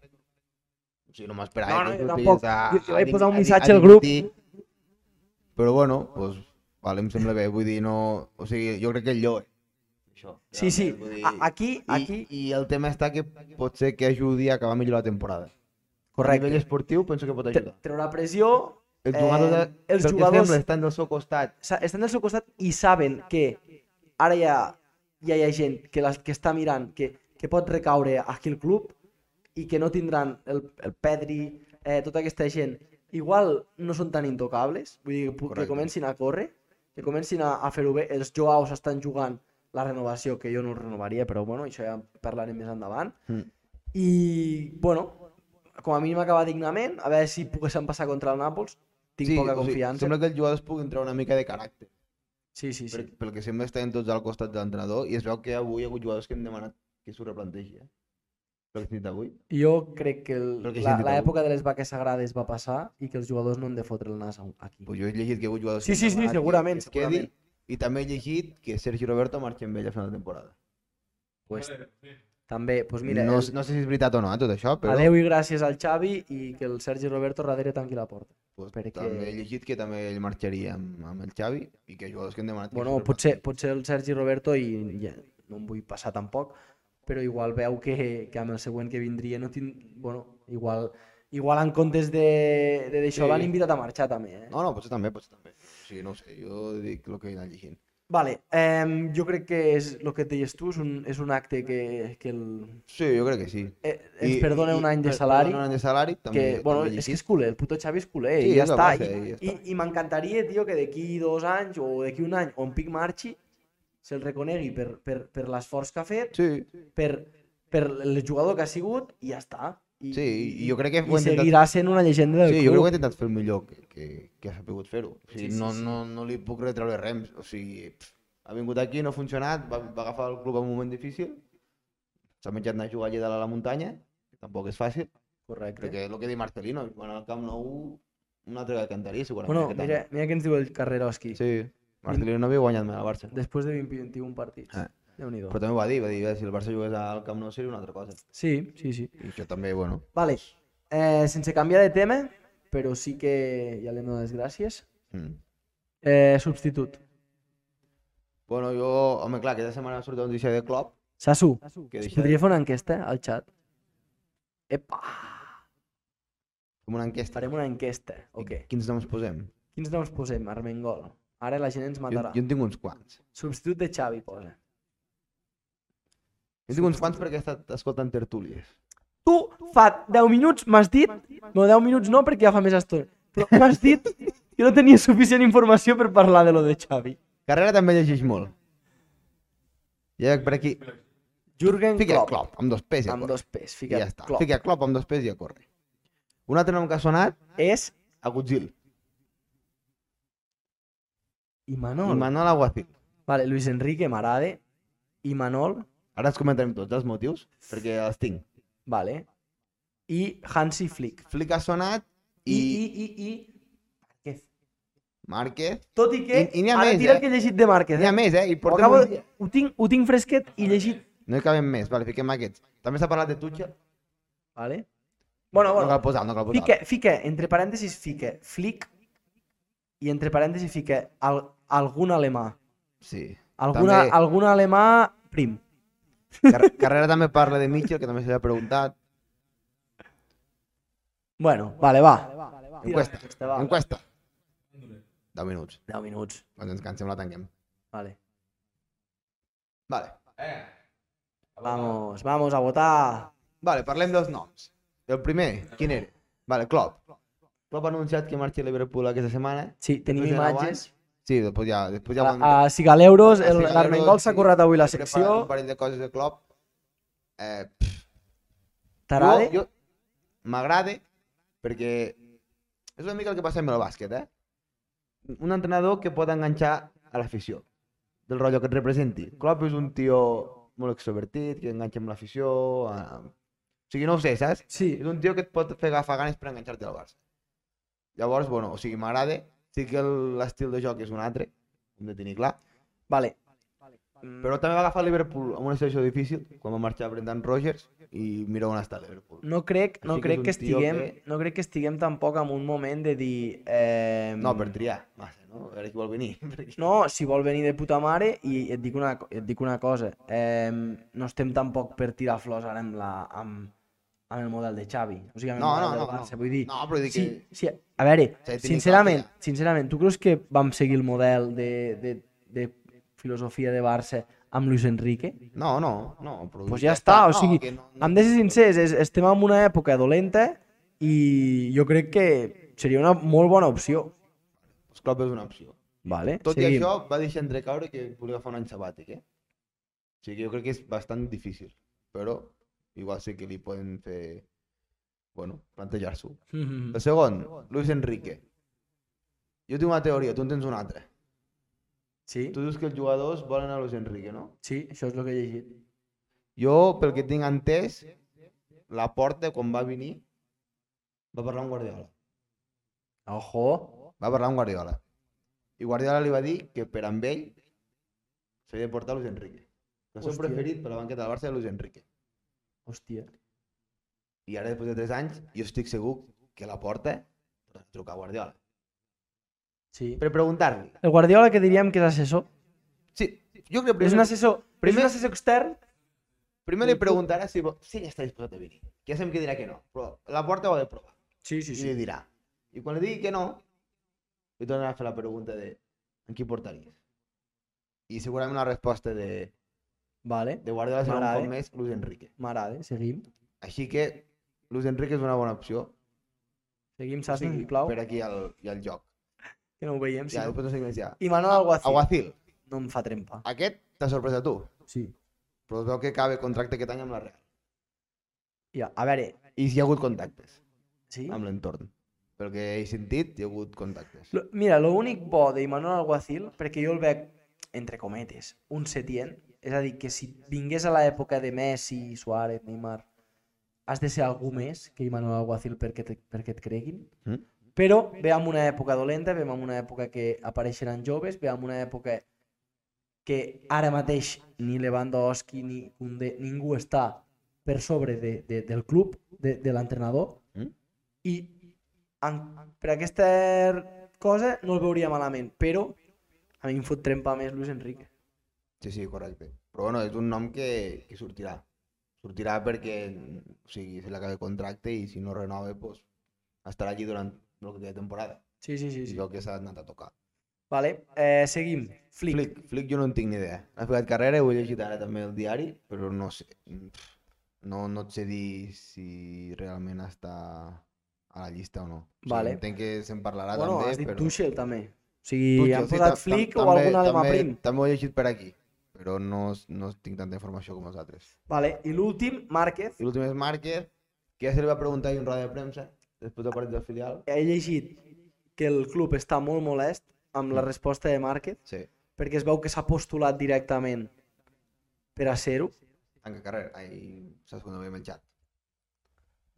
Speaker 2: O sigui, no m'esperava
Speaker 1: No, no,
Speaker 2: que
Speaker 1: jo
Speaker 2: sortís
Speaker 1: tampoc.
Speaker 2: a-
Speaker 1: Jo- jo vaig
Speaker 2: a
Speaker 1: posar un
Speaker 2: din- a din-
Speaker 1: missatge
Speaker 2: a
Speaker 1: al grup.
Speaker 2: dimitir. Però bueno, doncs, vale, em sembla bé. Vull dir, no... O sigui, jo crec que eh. ell lloe. Això,
Speaker 1: Sí, sí.
Speaker 2: realment, vull dir,
Speaker 1: A- Aquí, aquí,
Speaker 2: I, I el tema està que pot ser que ajudi a acabar millor la temporada. A
Speaker 1: correcte.
Speaker 2: nivell esportiu penso que pot
Speaker 1: Tre-
Speaker 2: ajudar.
Speaker 1: treurà pressió,
Speaker 2: Els
Speaker 1: eh,
Speaker 2: jugadors, eh,
Speaker 1: els
Speaker 2: pel
Speaker 1: jugadors-
Speaker 2: que sembla, estan del seu costat.
Speaker 1: sa- estan del seu costat i saben que ara ja, ja hi ha gent que, les, que està mirant que, que pot recaure aquí el club i que no tindran el, el Pedri, eh, tota aquesta gent. Igual no són tan intocables, vull dir que, pu- que
Speaker 2: Correcte.
Speaker 1: comencin a córrer, que comencin a, a fer-ho bé. Els Joaos estan jugant la renovació, que jo no renovaria, però bueno, això ja en parlarem més endavant.
Speaker 2: Mm.
Speaker 1: I, bueno, com a mínim acabar dignament, a veure si poguessin passar contra el Nàpols. Tinc
Speaker 2: Sí,
Speaker 1: poca
Speaker 2: o sigui,
Speaker 1: confiança.
Speaker 2: Sembla que els jugadors puguin treure una mica de caràcter.
Speaker 1: Sí, sí, sí.
Speaker 2: pel, pel que sembla estaven tots al costat de l'entrenador i es veu que avui hi ha hagut jugadors que han demanat que s'ho replantegi. Eh? Pel que he dit avui.
Speaker 1: Jo crec que el-
Speaker 2: Però que
Speaker 1: la-
Speaker 2: sentit avui.
Speaker 1: l'època de les vaques sagrades va passar i que els jugadors no han de fotre el nas a- aquí.
Speaker 2: Pues jo he llegit que hi ha hagut jugadors
Speaker 1: Sí,
Speaker 2: que han
Speaker 1: sí, sí,
Speaker 2: demanat que-
Speaker 1: segurament,
Speaker 2: que es quedi,
Speaker 1: segurament.
Speaker 2: I també he llegit que Sergi Roberto marxa amb ell a final de temporada.
Speaker 1: Pues, també, pues mira,
Speaker 2: no,
Speaker 1: el-
Speaker 2: no sé si és veritat o no, eh, tot això, però
Speaker 1: adeu i gràcies al Xavi i que el Sergi Roberto darrere tanqui la porta.
Speaker 2: pues,
Speaker 1: perquè-
Speaker 2: també he llegit que també ell marxaria amb, amb el Xavi i que hi ha jugadors que han demanat que
Speaker 1: Bueno,
Speaker 2: s'ho
Speaker 1: potser, potser el Sergi Roberto, i ja, no em vull passar tampoc, però igual veu que, que amb el següent que vindria no tin... Bueno, igual, igual en comptes de de d'això
Speaker 2: Sí.
Speaker 1: l'han invitat a marxar també, eh?
Speaker 2: replantegi. No, no, potser també, potser també. O sigui, no ho sé, jo dic el que he anat llegint.
Speaker 1: Vale, eh, jo crec que és el que et deies tu, és un, és un acte que, que el,
Speaker 2: Sí, jo crec que sí.
Speaker 1: eh, ens
Speaker 2: I-
Speaker 1: perdona
Speaker 2: i-
Speaker 1: un any de
Speaker 2: per-
Speaker 1: salari.
Speaker 2: Perdona un any de salari, també.
Speaker 1: que, bueno,
Speaker 2: també he
Speaker 1: és que
Speaker 2: llegit.
Speaker 1: és culer, el puto Xavi és culer,
Speaker 2: Sí,
Speaker 1: i ja
Speaker 2: és la
Speaker 1: està.
Speaker 2: base,
Speaker 1: I,
Speaker 2: i ja
Speaker 1: i, i m'encantaria, tio, que d'aquí dos anys o d'aquí un any, on Pic marxi, se'l reconegui per, per, per l'esforç que ha fet,
Speaker 2: Sí,
Speaker 1: per, per el jugador que ha sigut, i ja està. I,
Speaker 2: Sí, i jo crec que ho
Speaker 1: i
Speaker 2: ha intentat-
Speaker 1: seguirà sent una llegenda del
Speaker 2: Sí, jo crec que ho
Speaker 1: club.
Speaker 2: he intentat fer el millor que, que, que ha sabut fer-ho. O sigui,
Speaker 1: Sí, sí,
Speaker 2: no,
Speaker 1: sí.
Speaker 2: no, no li puc retreure res. O sigui, pff, ha vingut aquí, no ha funcionat, va, va agafar el club en un moment difícil, s'ha menjat anar a jugar allà dalt a la muntanya, que tampoc és fàcil.
Speaker 1: Correcte.
Speaker 2: Crec que és el que diu Marcelino, quan al Camp Nou un altre que cantaria segurament.
Speaker 1: Bueno,
Speaker 2: aquest any.
Speaker 1: mira, mira què ens diu el Carreroski.
Speaker 2: Sí, Marcelino no havia guanyat mai al Barça.
Speaker 1: Després de 20, 21 partits.
Speaker 2: Ah.
Speaker 1: Déu-n'hi-do.
Speaker 2: Però també ho va dir, va dir, "Bé, si el Barça jugués al Camp Nou seria una altra cosa.
Speaker 1: Sí, sí, sí.
Speaker 2: I això també, bueno...
Speaker 1: Vale, eh, sense canviar de tema, però sí que ja li hem donat les gràcies.
Speaker 2: Mm.
Speaker 1: Eh, substitut.
Speaker 2: Bueno, jo... Home, clar, aquesta setmana ha sortit un notícia de Klopp,
Speaker 1: Sasu,
Speaker 2: que
Speaker 1: es
Speaker 2: deixa
Speaker 1: podria fer una enquesta al xat? Epa!
Speaker 2: com una enquesta.
Speaker 1: Farem una enquesta. Ok.
Speaker 2: Quins noms posem?
Speaker 1: Quins noms posem, Armengol? Ara la gent ens
Speaker 2: Jo,
Speaker 1: matarà.
Speaker 2: jo en tinc uns quants.
Speaker 1: Substitut de Xavi, posa.
Speaker 2: Jo en tinc uns quants perquè he estat escoltant tertúlies.
Speaker 1: Tu fa 10 minuts m'has dit... No, 10 minuts no, perquè ja fa més estona. Però m'has dit que no tenia suficient informació per parlar de lo de Xavi.
Speaker 2: Carrera també llegeix molt. Ja per aquí.
Speaker 1: Jürgen
Speaker 2: Fica
Speaker 1: Klopp.
Speaker 2: Klopp, amb dos pes i a
Speaker 1: Amb
Speaker 2: córrer.
Speaker 1: dos P's.
Speaker 2: I
Speaker 1: Fica
Speaker 2: ja està.
Speaker 1: Klopp.
Speaker 2: Fica Klopp amb dos pes i a córrer. Un altre nom que ha sonat,
Speaker 1: És
Speaker 2: Agutzil.
Speaker 1: I
Speaker 2: Manol.
Speaker 1: Manol.
Speaker 2: I Manol Aguacil.
Speaker 1: Vale, Luis Enrique, m'agrada. I Manol,
Speaker 2: Ara els comentarem tots els motius, perquè els tinc.
Speaker 1: vale. I Hansi Flick.
Speaker 2: Flick ha sonat
Speaker 1: I, i,
Speaker 2: i,
Speaker 1: i, i... Márquez.
Speaker 2: Márquez.
Speaker 1: Tot i que...
Speaker 2: I- i n'hi ha
Speaker 1: ara
Speaker 2: més,
Speaker 1: tira
Speaker 2: eh?
Speaker 1: el que he llegit de Márquez.
Speaker 2: N'hi ha
Speaker 1: Eh?
Speaker 2: més, eh? I
Speaker 1: Ho,
Speaker 2: portem
Speaker 1: acabo...
Speaker 2: un dia.
Speaker 1: ho, tinc, ho tinc fresquet i llegit...
Speaker 2: No hi cabem més, vale, fiquem aquests. També s'ha parlat de Tuchel.
Speaker 1: Vale. Bueno,
Speaker 2: No
Speaker 1: bueno.
Speaker 2: cal posar, no cal posar.
Speaker 1: Fique, fique, entre parèntesis, fique Flick i entre parèntesis fique al, algun alemà.
Speaker 2: Sí.
Speaker 1: Alguna,
Speaker 2: També.
Speaker 1: algun alemà prim.
Speaker 2: Car Carrera també parla de Mitchell, que també se l'ha preguntat.
Speaker 1: Bueno, vale, va.
Speaker 2: Encuesta.
Speaker 1: Aquesta, va.
Speaker 2: Encuesta. 10 minuts.
Speaker 1: 10 minuts.
Speaker 2: Quan ens cansem la tanquem.
Speaker 1: Vale.
Speaker 2: Vale.
Speaker 1: Vamos, vamos a votar.
Speaker 2: Vale, parlem dels noms. El primer, quin era? Vale, Klopp. Klopp ha anunciat que marxa a Liverpool aquesta setmana.
Speaker 1: Sí, tenim
Speaker 2: Després de nou
Speaker 1: imatges. Ah,
Speaker 2: Sí, després ja... Després ja ho han-
Speaker 1: A, a Cigaleuros,
Speaker 2: A Sigal
Speaker 1: l'Armengol
Speaker 2: Euros,
Speaker 1: s'ha
Speaker 2: sí.
Speaker 1: currat avui la
Speaker 2: he preparat
Speaker 1: secció.
Speaker 2: Un parell de coses de Klopp. Eh, pff,
Speaker 1: T'agrada?
Speaker 2: jo- jo- M'agrada perquè és una mica el que passa amb el bàsquet, eh? Un entrenador que pot enganxar a l'afició, del rotllo que et representi. Klopp és un tio molt extrovertit, que enganxa amb l'afició... A... ah, O sigui, no ho sé, saps?
Speaker 1: Sí,
Speaker 2: És un tio que et pot fer agafar ganes per enganxar-te al Barça. Llavors, bueno, o sigui, m'agrada. Sí que el- l'estil de joc és un altre, hem de tenir clar.
Speaker 1: vale.
Speaker 2: Però també va agafar el Liverpool en una situació difícil, quan va marxar Brendan Rodgers, i mira on està el Liverpool.
Speaker 1: No crec, no
Speaker 2: Així que
Speaker 1: crec
Speaker 2: és
Speaker 1: que
Speaker 2: un tio
Speaker 1: estiguem,
Speaker 2: que-
Speaker 1: no crec que estiguem tampoc en un moment de dir... Eh,
Speaker 2: No, per triar, massa, no? A veure qui vol venir. perquè-
Speaker 1: No, si vol venir de puta mare i et dic una, co- et dic una cosa, eh, no estem tampoc per tirar flors ara amb, la, amb, amb el model de Xavi. O sigui, amb
Speaker 2: No,
Speaker 1: el model
Speaker 2: no,
Speaker 1: del
Speaker 2: no,
Speaker 1: Barça,
Speaker 2: no.
Speaker 1: vull dir...
Speaker 2: No, però dic
Speaker 1: sí,
Speaker 2: que-
Speaker 1: sí, a veure,
Speaker 2: Sí, tinc
Speaker 1: sincerament,
Speaker 2: clar
Speaker 1: sincerament, tu creus que vam seguir el model de, de, de filosofia de Barça amb Luis Enrique?
Speaker 2: No, no, no. Però
Speaker 1: Doncs pues ja està, o
Speaker 2: no,
Speaker 1: sigui,
Speaker 2: que no- no-
Speaker 1: hem de ser sincers, és, estem en una època dolenta i jo crec que seria una molt bona opció.
Speaker 2: doncs Klopp és una opció.
Speaker 1: Vale,
Speaker 2: Tot i
Speaker 1: seguim.
Speaker 2: això, va deixar entrecaure que volia agafar un any sabàtic, eh? O sigui, jo crec que és bastant difícil, però igual sí que li poden fer... Bueno, plantejar-s'ho.
Speaker 1: Mhm.
Speaker 2: El segon, Luis Enrique. Jo tinc una teoria, tu en tens una altra.
Speaker 1: Sí,
Speaker 2: Tu dius que els jugadors volen a Luis Enrique, no?
Speaker 1: sí, això és el que he llegit.
Speaker 2: Jo, pel que tinc entès, la porta, quan va venir, va parlar amb Guardiola.
Speaker 1: Ojo.
Speaker 2: Va parlar amb Guardiola. I Guardiola li va dir que per amb ell s'havia de portar Luis Enrique. El seu
Speaker 1: Hòstia.
Speaker 2: preferit per la banqueta del Barça era Luis Enrique.
Speaker 1: Hòstia.
Speaker 2: I ara, després de 3 anys, jo estic segur que la porta tornarà a trucar a Guardiola.
Speaker 1: Sí.
Speaker 2: Per preguntar-li.
Speaker 1: El Guardiola que diríem que és assessor.
Speaker 2: Sí, jo crec que
Speaker 1: És un assessor, primer...
Speaker 2: primer-
Speaker 1: és un assessor extern.
Speaker 2: primer li preguntarà si, vo- si ell està disposat a venir. Que ja sabem que dirà que no, però la porta ho ha de provar.
Speaker 1: Sí, sí,
Speaker 2: i li dirà. I quan li digui que no, li tornarà a fer la pregunta de en qui portaries? I segurament la resposta de,
Speaker 1: Vale,
Speaker 2: de Guardiola serà un
Speaker 1: M'agrada.
Speaker 2: cop més Luis Enrique.
Speaker 1: m'agrada, seguim.
Speaker 2: Així que Luis Enrique és una bona opció
Speaker 1: Seguim,
Speaker 2: o
Speaker 1: saps, sí,
Speaker 2: sigui,
Speaker 1: sisplau,
Speaker 2: per aquí al, i al joc.
Speaker 1: que no ho veiem. Ja,
Speaker 2: Ja, després no sé què més hi ha.
Speaker 1: I Manuel Alguacil,
Speaker 2: Aguacil,
Speaker 1: no em fa trempa.
Speaker 2: aquest t'ha sorprès a tu,
Speaker 1: Sí.
Speaker 2: però es veu que acaba contracte aquest any amb la Real.
Speaker 1: Ja, a veure,
Speaker 2: I si hi ha hagut contactes
Speaker 1: sí?
Speaker 2: amb l'entorn. Pel que he sentit, hi ha hagut contactes.
Speaker 1: Lo- Mira, l'únic bo d'Imanol Alguacil, perquè jo el veig, entre cometes, un setient, és a dir, que si vingués a l'època de Messi, Suárez, Neymar, has de ser algú més que Imanol Alguacil perquè, te, perquè et creguin.
Speaker 2: Mm.
Speaker 1: Però ve amb una època dolenta, ve amb una època que apareixeran joves, ve amb una època que ara mateix ni Lewandowski ni Koundé, ningú està per sobre de, de, del club, de, de l'entrenador,
Speaker 2: Mm.
Speaker 1: i en, per aquesta cosa no el veuria malament, però a mi em fot trempa més Luis Enrique.
Speaker 2: Sí, sí, correcte. Però bueno, és un nom que, que sortirà. Sortirà perquè, o sigui, mm, se l'acaba el contracte i si no renova, pues, estarà allí durant el que queda de temporada.
Speaker 1: Sí, sí, sí.
Speaker 2: Sí, sí.
Speaker 1: sí.
Speaker 2: Jo que s'ha anat a tocar.
Speaker 1: Vale, eh, seguim. Flick.
Speaker 2: Flick. Flick jo no en tinc ni idea. Ha fet carrera, ho he llegit ara també al diari, però no sé. Pff, No, no et sé dir si realment està a la llista o no. O sigui,
Speaker 1: Vale.
Speaker 2: entenc que se'n parlarà
Speaker 1: bueno,
Speaker 2: també,
Speaker 1: has dit
Speaker 2: però...
Speaker 1: Tuchel també. O sigui,
Speaker 2: Tuchel,
Speaker 1: han
Speaker 2: sí,
Speaker 1: posat
Speaker 2: tam- tam-
Speaker 1: Flick o
Speaker 2: també-
Speaker 1: algun alemà
Speaker 2: també-
Speaker 1: prim.
Speaker 2: També ho he llegit per aquí, però no, no tinc tanta informació com vosaltres.
Speaker 1: Vale, i l'últim, Márquez.
Speaker 2: I l'últim és Márquez, que ja se li va preguntar ahir en roda de premsa, després del partit del filial.
Speaker 1: He llegit que el club està molt molest amb la
Speaker 2: Mm.
Speaker 1: resposta de Márquez,
Speaker 2: Sí.
Speaker 1: perquè es veu que s'ha postulat directament per a ser-ho.
Speaker 2: Tanca carrer. Ai, saps quan ho he menjat?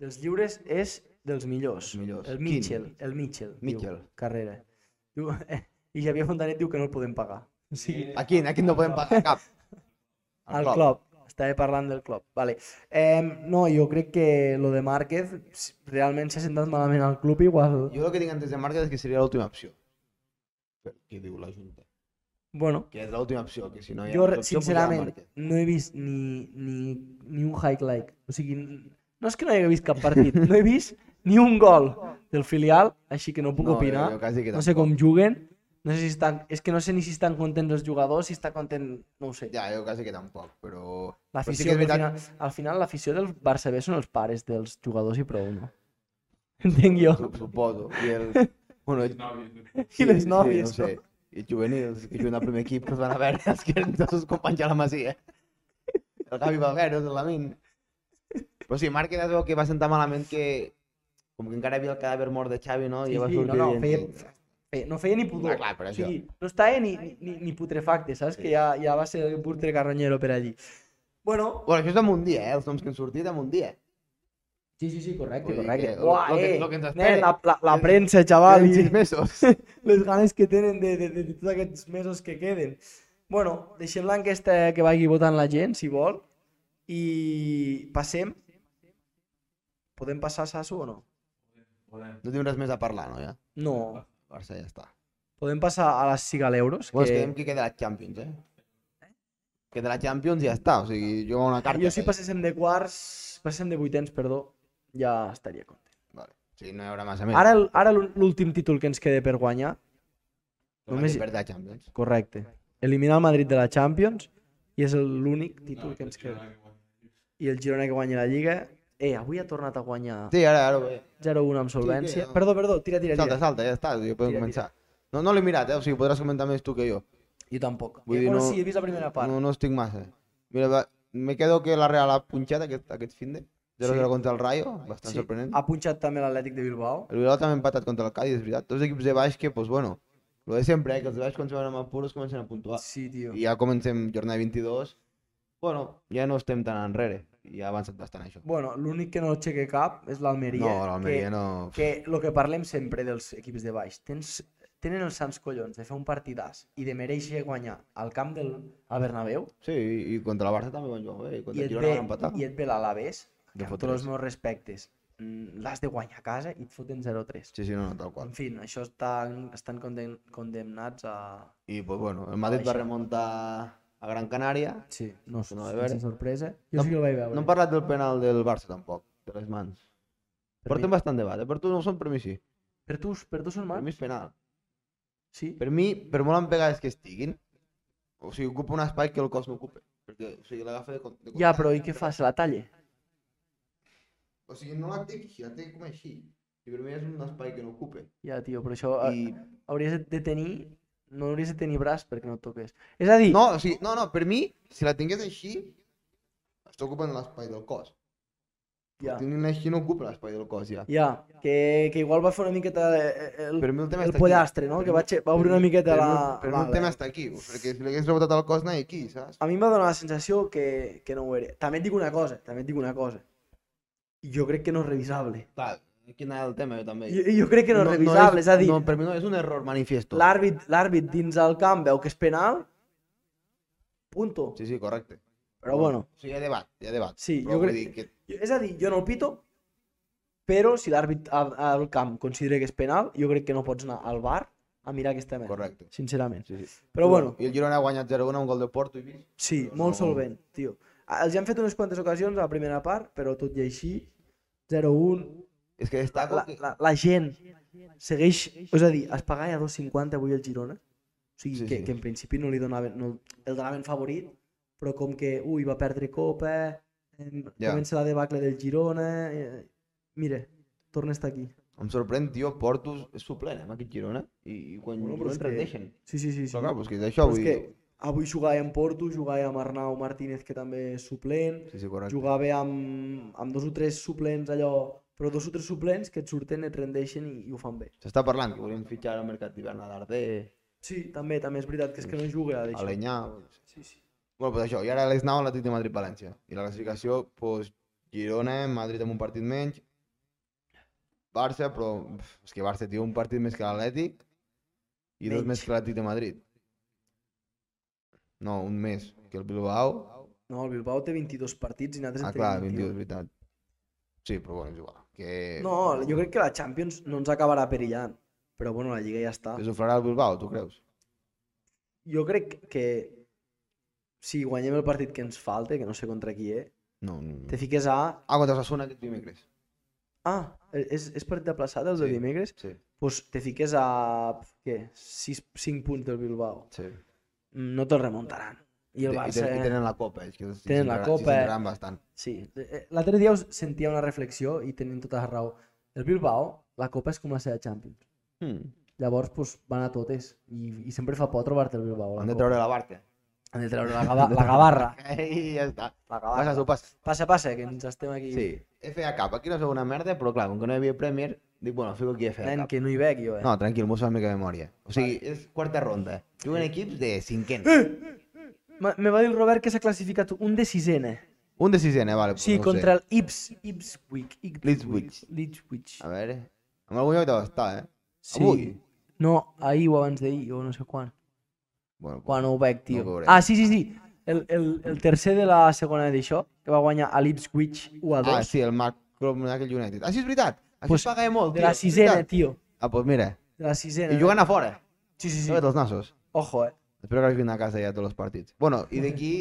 Speaker 1: Dels lliures és dels millors.
Speaker 2: Els millors.
Speaker 1: El
Speaker 2: Quin?
Speaker 1: Mitchell, el Mitchell,
Speaker 2: Mitchell.
Speaker 1: Diu, carrera. Diu, I Javier Fontanet diu que no el podem pagar. O sigui,
Speaker 2: A quin? A quin no podem pagar cap? Al
Speaker 1: al Klopp. Estava parlant del Klopp. Vale. Eh, no, jo crec que lo de Márquez si realment s'ha sentat malament al club igual.
Speaker 2: Jo el que tinc antes de marca és que seria l'última opció. Però Què diu la Junta?
Speaker 1: Bueno,
Speaker 2: Que és l'última opció, que si no hi ha
Speaker 1: jo
Speaker 2: altra
Speaker 1: re-
Speaker 2: opció, posarà
Speaker 1: sincerament
Speaker 2: Márquez.
Speaker 1: no he vist ni, ni, ni un high like. O sigui, n- no és que no hagi vist cap partit, no he vist ni un gol del filial, així que no puc
Speaker 2: No,
Speaker 1: opinar.
Speaker 2: jo- jo quasi que
Speaker 1: no sé
Speaker 2: tampoc.
Speaker 1: com juguen, no sé si estan, és que no sé ni si estan contents els jugadors, si està content, no ho sé.
Speaker 2: Ja, jo quasi que tampoc, però... però sí
Speaker 1: L'afició,
Speaker 2: que és
Speaker 1: al,
Speaker 2: veritat...
Speaker 1: final, al final l'afició del Barça B són els pares dels jugadors i prou, no? Entenc jo.
Speaker 2: Su- Suposo. I el... Bueno, el...
Speaker 1: I les nòvies,
Speaker 2: no sé. I els juvenils que juguen al primer equip que es van a veure els que eren dels seus companys a la Masia. El Gavi Valgueros, el Lamin. Però sí, Márquez es veu que va sentar malament que... Com que encara hi havia el cadàver mort de Xavi, no? I
Speaker 1: Sí,
Speaker 2: ja va
Speaker 1: sí, no,
Speaker 2: sortir
Speaker 1: no,
Speaker 2: dient,
Speaker 1: feia-
Speaker 2: sí.
Speaker 1: Eh, no feia ni pudor.
Speaker 2: Ah, clar, per
Speaker 1: o sigui,
Speaker 2: això.
Speaker 1: no estava ni, ni- ni, ni putrefacte, saps? Que ja, ja va ser el putre carroñero per allí. Bueno,
Speaker 2: Bueno, això és damunt dia, eh? Els noms que han sortit damunt dia.
Speaker 1: sí, sí, sí, correcte,
Speaker 2: Vull dir
Speaker 1: correcte.
Speaker 2: que lo-
Speaker 1: Uah,
Speaker 2: lo que-
Speaker 1: eh,
Speaker 2: lo que ens
Speaker 1: nen,
Speaker 2: espere.
Speaker 1: la, la, la premsa, xaval,
Speaker 2: Queden
Speaker 1: i
Speaker 2: sis mesos.
Speaker 1: les ganes que tenen de, de, de, de tots aquests mesos que queden. Bueno, deixem-la enquesta que vagi votant la gent, si vol, i passem. Podem passar Sasu o no?
Speaker 2: No tinc res més a parlar, no, ja?
Speaker 1: No.
Speaker 2: Barça ja està.
Speaker 1: Podem passar a les Cigaleuros,
Speaker 2: Bueno, ens
Speaker 1: que...
Speaker 2: quedem que queda la Champions, eh? Que de la Champions ja està, o sigui, jo una carta.
Speaker 1: Jo si
Speaker 2: eh?
Speaker 1: passéssim de quarts, passéssim de vuitens, perdó, ja estaria content.
Speaker 2: Vale. Sí, no hi haurà massa més.
Speaker 1: Ara, l- ara l'ú- l'últim títol que ens queda per guanyar, només-
Speaker 2: només... perd la Champions.
Speaker 1: correcte, eliminar el Madrid de la Champions, i és el- l'únic títol que ens queda. I el Girona que guanya la Lliga, eh, avui ha tornat a guanyar
Speaker 2: Sí, ara, ara ho veig.
Speaker 1: 0-1 amb solvència.
Speaker 2: no.
Speaker 1: Perdó, perdó, tira, tira,
Speaker 2: Salta,
Speaker 1: tira.
Speaker 2: salta, ja està, jo podem
Speaker 1: Tira,
Speaker 2: començar. No, no l'he mirat, eh? O sigui, podràs comentar més tu que jo.
Speaker 1: Jo tampoc.
Speaker 2: Vull
Speaker 1: Eh,
Speaker 2: dir,
Speaker 1: bueno,
Speaker 2: no-
Speaker 1: sí, he vist la primera part.
Speaker 2: No, no estic massa. Mira, va, me quedo que la Real ha punxat aquest, aquest finde. 0-0
Speaker 1: Sí.
Speaker 2: contra el Rayo, bastant
Speaker 1: Sí, Ah.
Speaker 2: sorprenent.
Speaker 1: Ha punxat també l'Atlètic de Bilbao.
Speaker 2: El Bilbao també ha empatat contra el Cádiz, és veritat. Dos equips de baix que, doncs, bueno, lo de sempre, eh? que els de baix quan se van amb apuros comencen a puntuar.
Speaker 1: Sí, tio.
Speaker 2: I ja comencem jornada 22. Bueno, ja no estem tan enrere. I ha avançat bastant això.
Speaker 1: Bueno, l'únic que no aixeca cap és l'Almeria.
Speaker 2: No, l'Almeria
Speaker 1: que-
Speaker 2: no...
Speaker 1: que el que parlem sempre dels equips de baix, tens, tenen els sants collons de fer un partidàs i de mereixer guanyar al camp del al Bernabéu
Speaker 2: Sí, i contra la Barça també van jugar bé. I
Speaker 1: i
Speaker 2: contra el
Speaker 1: et
Speaker 2: Girona van
Speaker 1: ve,
Speaker 2: empatar.
Speaker 1: i et ve l'Alavés,
Speaker 2: De
Speaker 1: que amb
Speaker 2: fotre
Speaker 1: tots els
Speaker 2: tres.
Speaker 1: meus respectes mm, l'has de guanyar a casa i et foten 0-3.
Speaker 2: Sí, sí, no, no, tal qual.
Speaker 1: En fi, això estan, estan conden, condemnats a...
Speaker 2: I, pues, bueno, el Madrid va
Speaker 1: baixar.
Speaker 2: remuntar a Gran Canària.
Speaker 1: Sí, no,
Speaker 2: No, Doncs a
Speaker 1: sense
Speaker 2: veure.
Speaker 1: sorpresa. Jo sí que el vaig veure.
Speaker 2: No hem parlat del penal del Barça, tampoc, de les mans. Portem bastant debat, eh? Per tu no ho són, per mi sí.
Speaker 1: per, tu, per tu són
Speaker 2: Per mi
Speaker 1: mans?
Speaker 2: és penal.
Speaker 1: Sí.
Speaker 2: Per mi, per molt empegades que estiguin, o sigui, ocupa un espai que el cos no ocupa. Perquè, o sigui, l'agafa de, con- de
Speaker 1: Ja,
Speaker 2: costat.
Speaker 1: però i què fa? Se la talla?
Speaker 2: O sigui, no la té així, la té com així. I per mi és un espai que no ocupa.
Speaker 1: Ja, tio, però això eh, I...
Speaker 2: I...
Speaker 1: hauries de tenir... No hauries de tenir braç perquè no et toques. És a dir,
Speaker 2: No, o sigui, no, no, per mi, si la tingués així, està ocupant l'espai del cos.
Speaker 1: ja.
Speaker 2: Ja. Tenint així no ocupa l'espai del cos, ja.
Speaker 1: Ja, que, que igual va fer una miqueta eh, eh, el,
Speaker 2: Per mi el tema
Speaker 1: el
Speaker 2: està aquí.
Speaker 1: pollastre, no?
Speaker 2: Per
Speaker 1: Que
Speaker 2: mi-
Speaker 1: va, xe- va obrir una miqueta
Speaker 2: per
Speaker 1: la...
Speaker 2: mi- Per mi el
Speaker 1: Vale.
Speaker 2: tema està aquí, perquè si l'hagués rebotat al cos anava aquí, saps?
Speaker 1: A mi em va donar la sensació que, que no ho era. També et dic una cosa, també et dic una cosa. Jo crec que no és revisable.
Speaker 2: Clar, aquí anava el tema jo també.
Speaker 1: Jo, jo crec que no, és revisable, és, a dir,
Speaker 2: No, per mi no, és un error manifiesto.
Speaker 1: l'àrbit l'àrbit dins el camp veu que és penal, punto.
Speaker 2: Sí, sí, correcte.
Speaker 1: Però bueno,
Speaker 2: Sí, hi ha debat, hi ha debat.
Speaker 1: Sí,
Speaker 2: Però
Speaker 1: jo
Speaker 2: vull
Speaker 1: crec-
Speaker 2: dir que...
Speaker 1: jo- és a dir, jo no el pito, però si l'àrbit al al camp considera que és penal, jo crec que no pots anar al bar a mirar aquesta merda,
Speaker 2: Correcte.
Speaker 1: sincerament.
Speaker 2: Sí, sí.
Speaker 1: Però bueno,
Speaker 2: I el Girona ha guanyat 0-1 un gol de Porto i vist.
Speaker 1: Sí,
Speaker 2: Però
Speaker 1: molt
Speaker 2: no-
Speaker 1: solvent, tio. Ah, Els han fet unes quantes ocasions a la primera part, però tot i així, 0-1,
Speaker 2: És que destaco
Speaker 1: la,
Speaker 2: que...
Speaker 1: la, la gent segueix... És a dir, es pagava a 2,50 avui el Girona, o sigui,
Speaker 2: Sí,
Speaker 1: que,
Speaker 2: sí.
Speaker 1: que en principi no li donaven, no, el donaven favorit, però com que, ui, va perdre Copa, em,
Speaker 2: Ja.
Speaker 1: comença la debacle del Girona... Eh, mira, torna a estar aquí.
Speaker 2: Em sorprèn, tio, Porto és suplent amb aquest Girona i, i quan
Speaker 1: Bueno,
Speaker 2: bueno,
Speaker 1: però és
Speaker 2: no
Speaker 1: que-
Speaker 2: rendeixen.
Speaker 1: Sí, sí, sí. sí.
Speaker 2: Però clar, doncs pues, que és això,
Speaker 1: Però és
Speaker 2: vull
Speaker 1: que
Speaker 2: dir...
Speaker 1: avui jugava en Porto, jugava amb Arnau Martínez, que també és suplent,
Speaker 2: Sí, sí, correcte.
Speaker 1: jugar bé amb, amb dos o tres suplents allò, però dos o tres suplents que et surten, et rendeixen i, i ho fan bé.
Speaker 2: S'està parlant que volem fitxar al mercat d'hivern a l'Arder,
Speaker 1: Sí, també, també és veritat, que és que no juga a d'això.
Speaker 2: Alenyà...
Speaker 1: Sí, sí.
Speaker 2: Bueno, pues això, i ara l'Esnau a l'Atlètic de Madrid-València. I la classificació, pues, Girona, Madrid amb un partit menys, Barça, però pf, és que Barça té un partit més que l'Atlètic i dos
Speaker 1: Menys.
Speaker 2: més que l'Atlètic de Madrid. No, un més que el Bilbao.
Speaker 1: No, el Bilbao té 22 partits i nosaltres
Speaker 2: Ah,
Speaker 1: en
Speaker 2: clar,
Speaker 1: tenim
Speaker 2: 22, veritat. Sí, però bueno, és igual. Que...
Speaker 1: No, jo crec que la Champions no ens acabarà perillant. Però bueno, la Lliga ja està.
Speaker 2: Que s'ofrarà el Bilbao, tu creus?
Speaker 1: Jo crec que si guanyem el partit que ens falta, que no sé contra qui, eh?
Speaker 2: No, no. no.
Speaker 1: Te fiques a...
Speaker 2: Ah, contra Osasuna aquest dimecres.
Speaker 1: Ah, és, és partit aplaçat el de
Speaker 2: Sí.
Speaker 1: dimecres?
Speaker 2: Sí,
Speaker 1: Doncs pues te fiques a... Què? 6, 5 punts del Bilbao.
Speaker 2: sí.
Speaker 1: No te'l remuntaran. I el
Speaker 2: Te-
Speaker 1: Barça...
Speaker 2: I tenen la copa, ells. Que s'hi
Speaker 1: Tenen la
Speaker 2: centraran-
Speaker 1: Copa.
Speaker 2: S'hi centraran bastant.
Speaker 1: Sí, eh, l'altre dia us sentia una reflexió i tenint tota la raó. El Bilbao, la Copa és com la seva Champions.
Speaker 2: Hmm.
Speaker 1: Llavors, pues, van a totes i, i sempre fa por trobar-te el Bilbao. a la
Speaker 2: Han de
Speaker 1: Copa.
Speaker 2: treure la barca.
Speaker 1: Han de treure la, gava, la gavarra.
Speaker 2: I ja està.
Speaker 1: La
Speaker 2: Passa,
Speaker 1: gavarra.
Speaker 2: tu passa.
Speaker 1: Passa, passa, que ens estem aquí.
Speaker 2: Sí. FA Cup. Aquí no sóc una merda, però clar, com que no hi havia Premier, dic, bueno, fico aquí FA
Speaker 1: Nen,
Speaker 2: Cup.
Speaker 1: que no hi veig jo, eh?
Speaker 2: No, tranquil, m'ho sabes mica de memòria. O sigui, és quarta ronda. Juguen equips de cinquena.
Speaker 1: ¡Eh! Ma- Me va dir el Robert que s'ha classificat un de sisena.
Speaker 2: Un de sisena, vale. pues,
Speaker 1: Sí,
Speaker 2: no ho sé.
Speaker 1: contra el Ips, Ipswich. Ipswich.
Speaker 2: Ipswich.
Speaker 1: Ipswich.
Speaker 2: A eh. veure... En algun lloc deu estar, eh?
Speaker 1: Sí.
Speaker 2: Avui?
Speaker 1: No, ahir o abans d'ahir, o no sé quan.
Speaker 2: Bueno, pues.
Speaker 1: Quan ho veig, tio.
Speaker 2: ho veurem.
Speaker 1: ah, sí, sí, sí. El, el, el tercer de la segona edició, que va guanyar a l'Ipswich 1 a 2.
Speaker 2: Ah, sí, el Marc Klopp d'aquell United. Ah, sí, és veritat. Això
Speaker 1: Pues,
Speaker 2: pues, paga molt,
Speaker 1: De
Speaker 2: tio.
Speaker 1: la
Speaker 2: és
Speaker 1: sisena,
Speaker 2: veritat.
Speaker 1: tio.
Speaker 2: Ah, doncs pues mira.
Speaker 1: De la sisena.
Speaker 2: I jugant a fora.
Speaker 1: Sí, sí,
Speaker 2: Sí.
Speaker 1: sí.
Speaker 2: Sabe els nassos.
Speaker 1: Ojo, eh.
Speaker 2: Espero que hagin a casa ja tots els partits. Bueno, i d'aquí...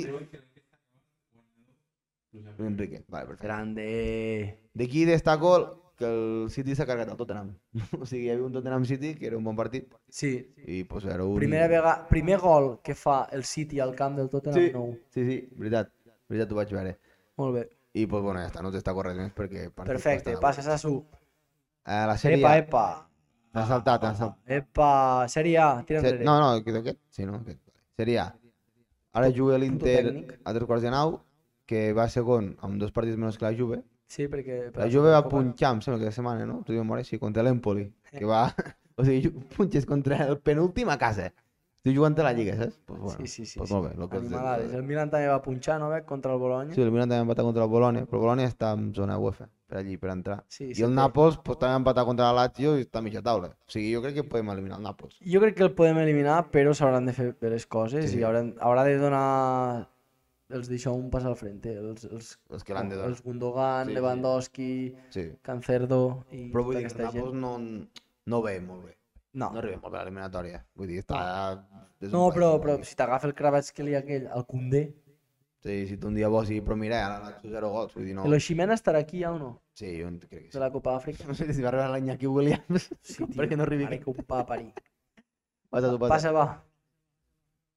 Speaker 2: Enrique, vale, perfecte.
Speaker 1: Grande.
Speaker 2: D'aquí destaco el- que el City s'ha cargat el Tottenham. o sigui, hi havia un Tottenham City que era un bon partit
Speaker 1: Sí.
Speaker 2: i pues era un...
Speaker 1: Primera vega... Primer gol que fa el City al camp del Tottenham
Speaker 2: Sí,
Speaker 1: nou.
Speaker 2: sí, sí, veritat. Veritat, ho vaig veure.
Speaker 1: Molt bé.
Speaker 2: I eh. pues bueno, ja està, no destaco res més perquè... partit
Speaker 1: Perfecte,
Speaker 2: bastant
Speaker 1: passes a su.
Speaker 2: avorrit. Eh, la
Speaker 1: Epa,
Speaker 2: sèrie...
Speaker 1: Ah,
Speaker 2: Epa,
Speaker 1: epa.
Speaker 2: T'has saltat, t'has saltat.
Speaker 1: Epa, sèrie A, tira
Speaker 2: Se...
Speaker 1: enrere.
Speaker 2: No, no, aquest, aquest? Sí, no, aquest. Sèrie A. Ara juga l'Inter
Speaker 1: tècnic.
Speaker 2: a tres quarts de nou, que va segon amb dos partits menys que la Juve.
Speaker 1: Sí, perquè...
Speaker 2: La Juve va punxar, em sembla que la setmana, no? Tu dius, mare, sí, contra l'Empoli, que va... O sigui, ju- punxes contra el penúltim a casa. Estic jugant a la Lliga, saps? Pues bueno,
Speaker 1: Sí, sí, sí,
Speaker 2: Pues
Speaker 1: sí.
Speaker 2: molt bé, lo que els-
Speaker 1: Animalades. El Milan també va punxar, no? Veig, contra el Bologna.
Speaker 2: Sí, el Milan també va empatar contra el Bologna, però el Bologna està en zona UEFA, per allí, per entrar.
Speaker 1: Sí,
Speaker 2: I
Speaker 1: sí,
Speaker 2: el
Speaker 1: té.
Speaker 2: Nàpols pues, també va empatar contra la Lazio i està a mitja taula. O sigui, jo crec que podem eliminar el Nàpols.
Speaker 1: Jo crec que el podem eliminar, però s'hauran de fer bé les coses
Speaker 2: Sí.
Speaker 1: i hauran, haurà de donar els d'això un pas al frente, els, els,
Speaker 2: Els que l'han de donar.
Speaker 1: els Gundogan,
Speaker 2: Sí, sí.
Speaker 1: Lewandowski,
Speaker 2: Sí.
Speaker 1: Cancerdo i
Speaker 2: Però vull
Speaker 1: tota
Speaker 2: dir que el
Speaker 1: aquesta gent.
Speaker 2: Nàpols no, no ve molt bé.
Speaker 1: No,
Speaker 2: No arriba molt bé a l'eliminatòria. Vull dir, està... és un
Speaker 1: no
Speaker 2: país
Speaker 1: però,
Speaker 2: molt
Speaker 1: però
Speaker 2: bé.
Speaker 1: si t'agafa el Kravetskheli aquell, el Koundé,
Speaker 2: Sí, si tu un dia vols i però mira, ara l'Axo zero gols, vull dir, no.
Speaker 1: no. l'Oximena estarà aquí ja o no?
Speaker 2: Sí, jo en- crec que
Speaker 1: De
Speaker 2: sí.
Speaker 1: la Copa Àfrica?
Speaker 2: No sé si va arribar l'Iñaki Williams,
Speaker 1: Sí, tio,
Speaker 2: perquè no arribi
Speaker 1: mare
Speaker 2: aquí.
Speaker 1: que un pa a parir.
Speaker 2: Passa, tu, passa.
Speaker 1: Passa, va.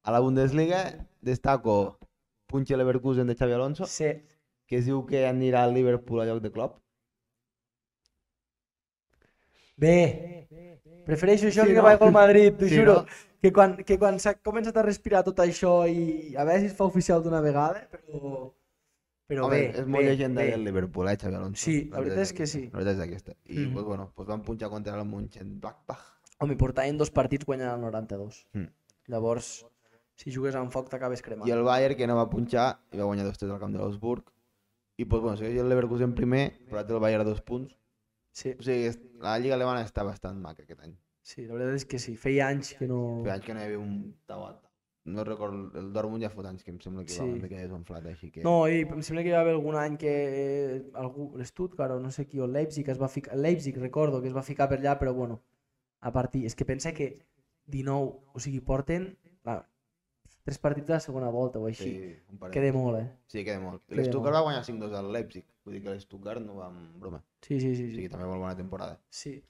Speaker 2: A la Bundesliga destaco Punche Leverkusen de Xavi Alonso,
Speaker 1: Sí.
Speaker 2: que es diu que anirà al Liverpool a lloc de Klopp.
Speaker 1: Bé, prefereixo això
Speaker 2: Sí,
Speaker 1: sí, que
Speaker 2: no?
Speaker 1: no? vaig al Madrid, t'ho
Speaker 2: Sí,
Speaker 1: juro.
Speaker 2: no?
Speaker 1: Que quan, que quan s'ha començat a respirar tot això i a veure si es fa oficial d'una vegada, però... Però
Speaker 2: Home,
Speaker 1: bé,
Speaker 2: és molt
Speaker 1: bé,
Speaker 2: llegenda
Speaker 1: bé.
Speaker 2: del Liverpool, eh, Xavi Alonso.
Speaker 1: Sí, la veritat és que
Speaker 2: aquesta,
Speaker 1: sí.
Speaker 2: La veritat és aquesta. I,
Speaker 1: Mhm.
Speaker 2: pues, bueno, pues van punxar contra el Mönchengladbach.
Speaker 1: Home, portaven dos partits guanyant el 92.
Speaker 2: Mm.
Speaker 1: Llavors, si jugues amb foc t'acabes cremant.
Speaker 2: I el Bayern, que no va punxar, i va guanyar 2-3 al camp de l'Augsburg. I, pues, bueno, segueix el Leverkusen primer, però ara té el Bayern a dos punts.
Speaker 1: Sí,
Speaker 2: O sigui, és- la Lliga Alemana està bastant maca aquest any.
Speaker 1: sí, la veritat és que sí. Feia anys que no...
Speaker 2: Feia anys que no hi havia un tabat. No recordo, el Dortmund ja fot anys que em sembla que
Speaker 1: Sí.
Speaker 2: va una mica desenflat, així que...
Speaker 1: No, i em sembla que hi va haver algun any que eh, algú, l'Stuttgart o no sé qui, o el Leipzig, es va ficar, el Leipzig recordo que es va ficar per allà, però bueno, a partir, és que pensa que 19, o sigui, porten clar, tres partits de la segona volta o així,
Speaker 2: sí, un
Speaker 1: sí.
Speaker 2: parell.
Speaker 1: queda molt, eh?
Speaker 2: Sí, queda molt.
Speaker 1: queda
Speaker 2: L'Stuttgart
Speaker 1: molt.
Speaker 2: va guanyar 5-2 al Leipzig. Vull dir que l'Stuttgart no va amb broma.
Speaker 1: Sí, sí, sí,
Speaker 2: O
Speaker 1: sí.
Speaker 2: sigui, també molt bona temporada.
Speaker 1: sí.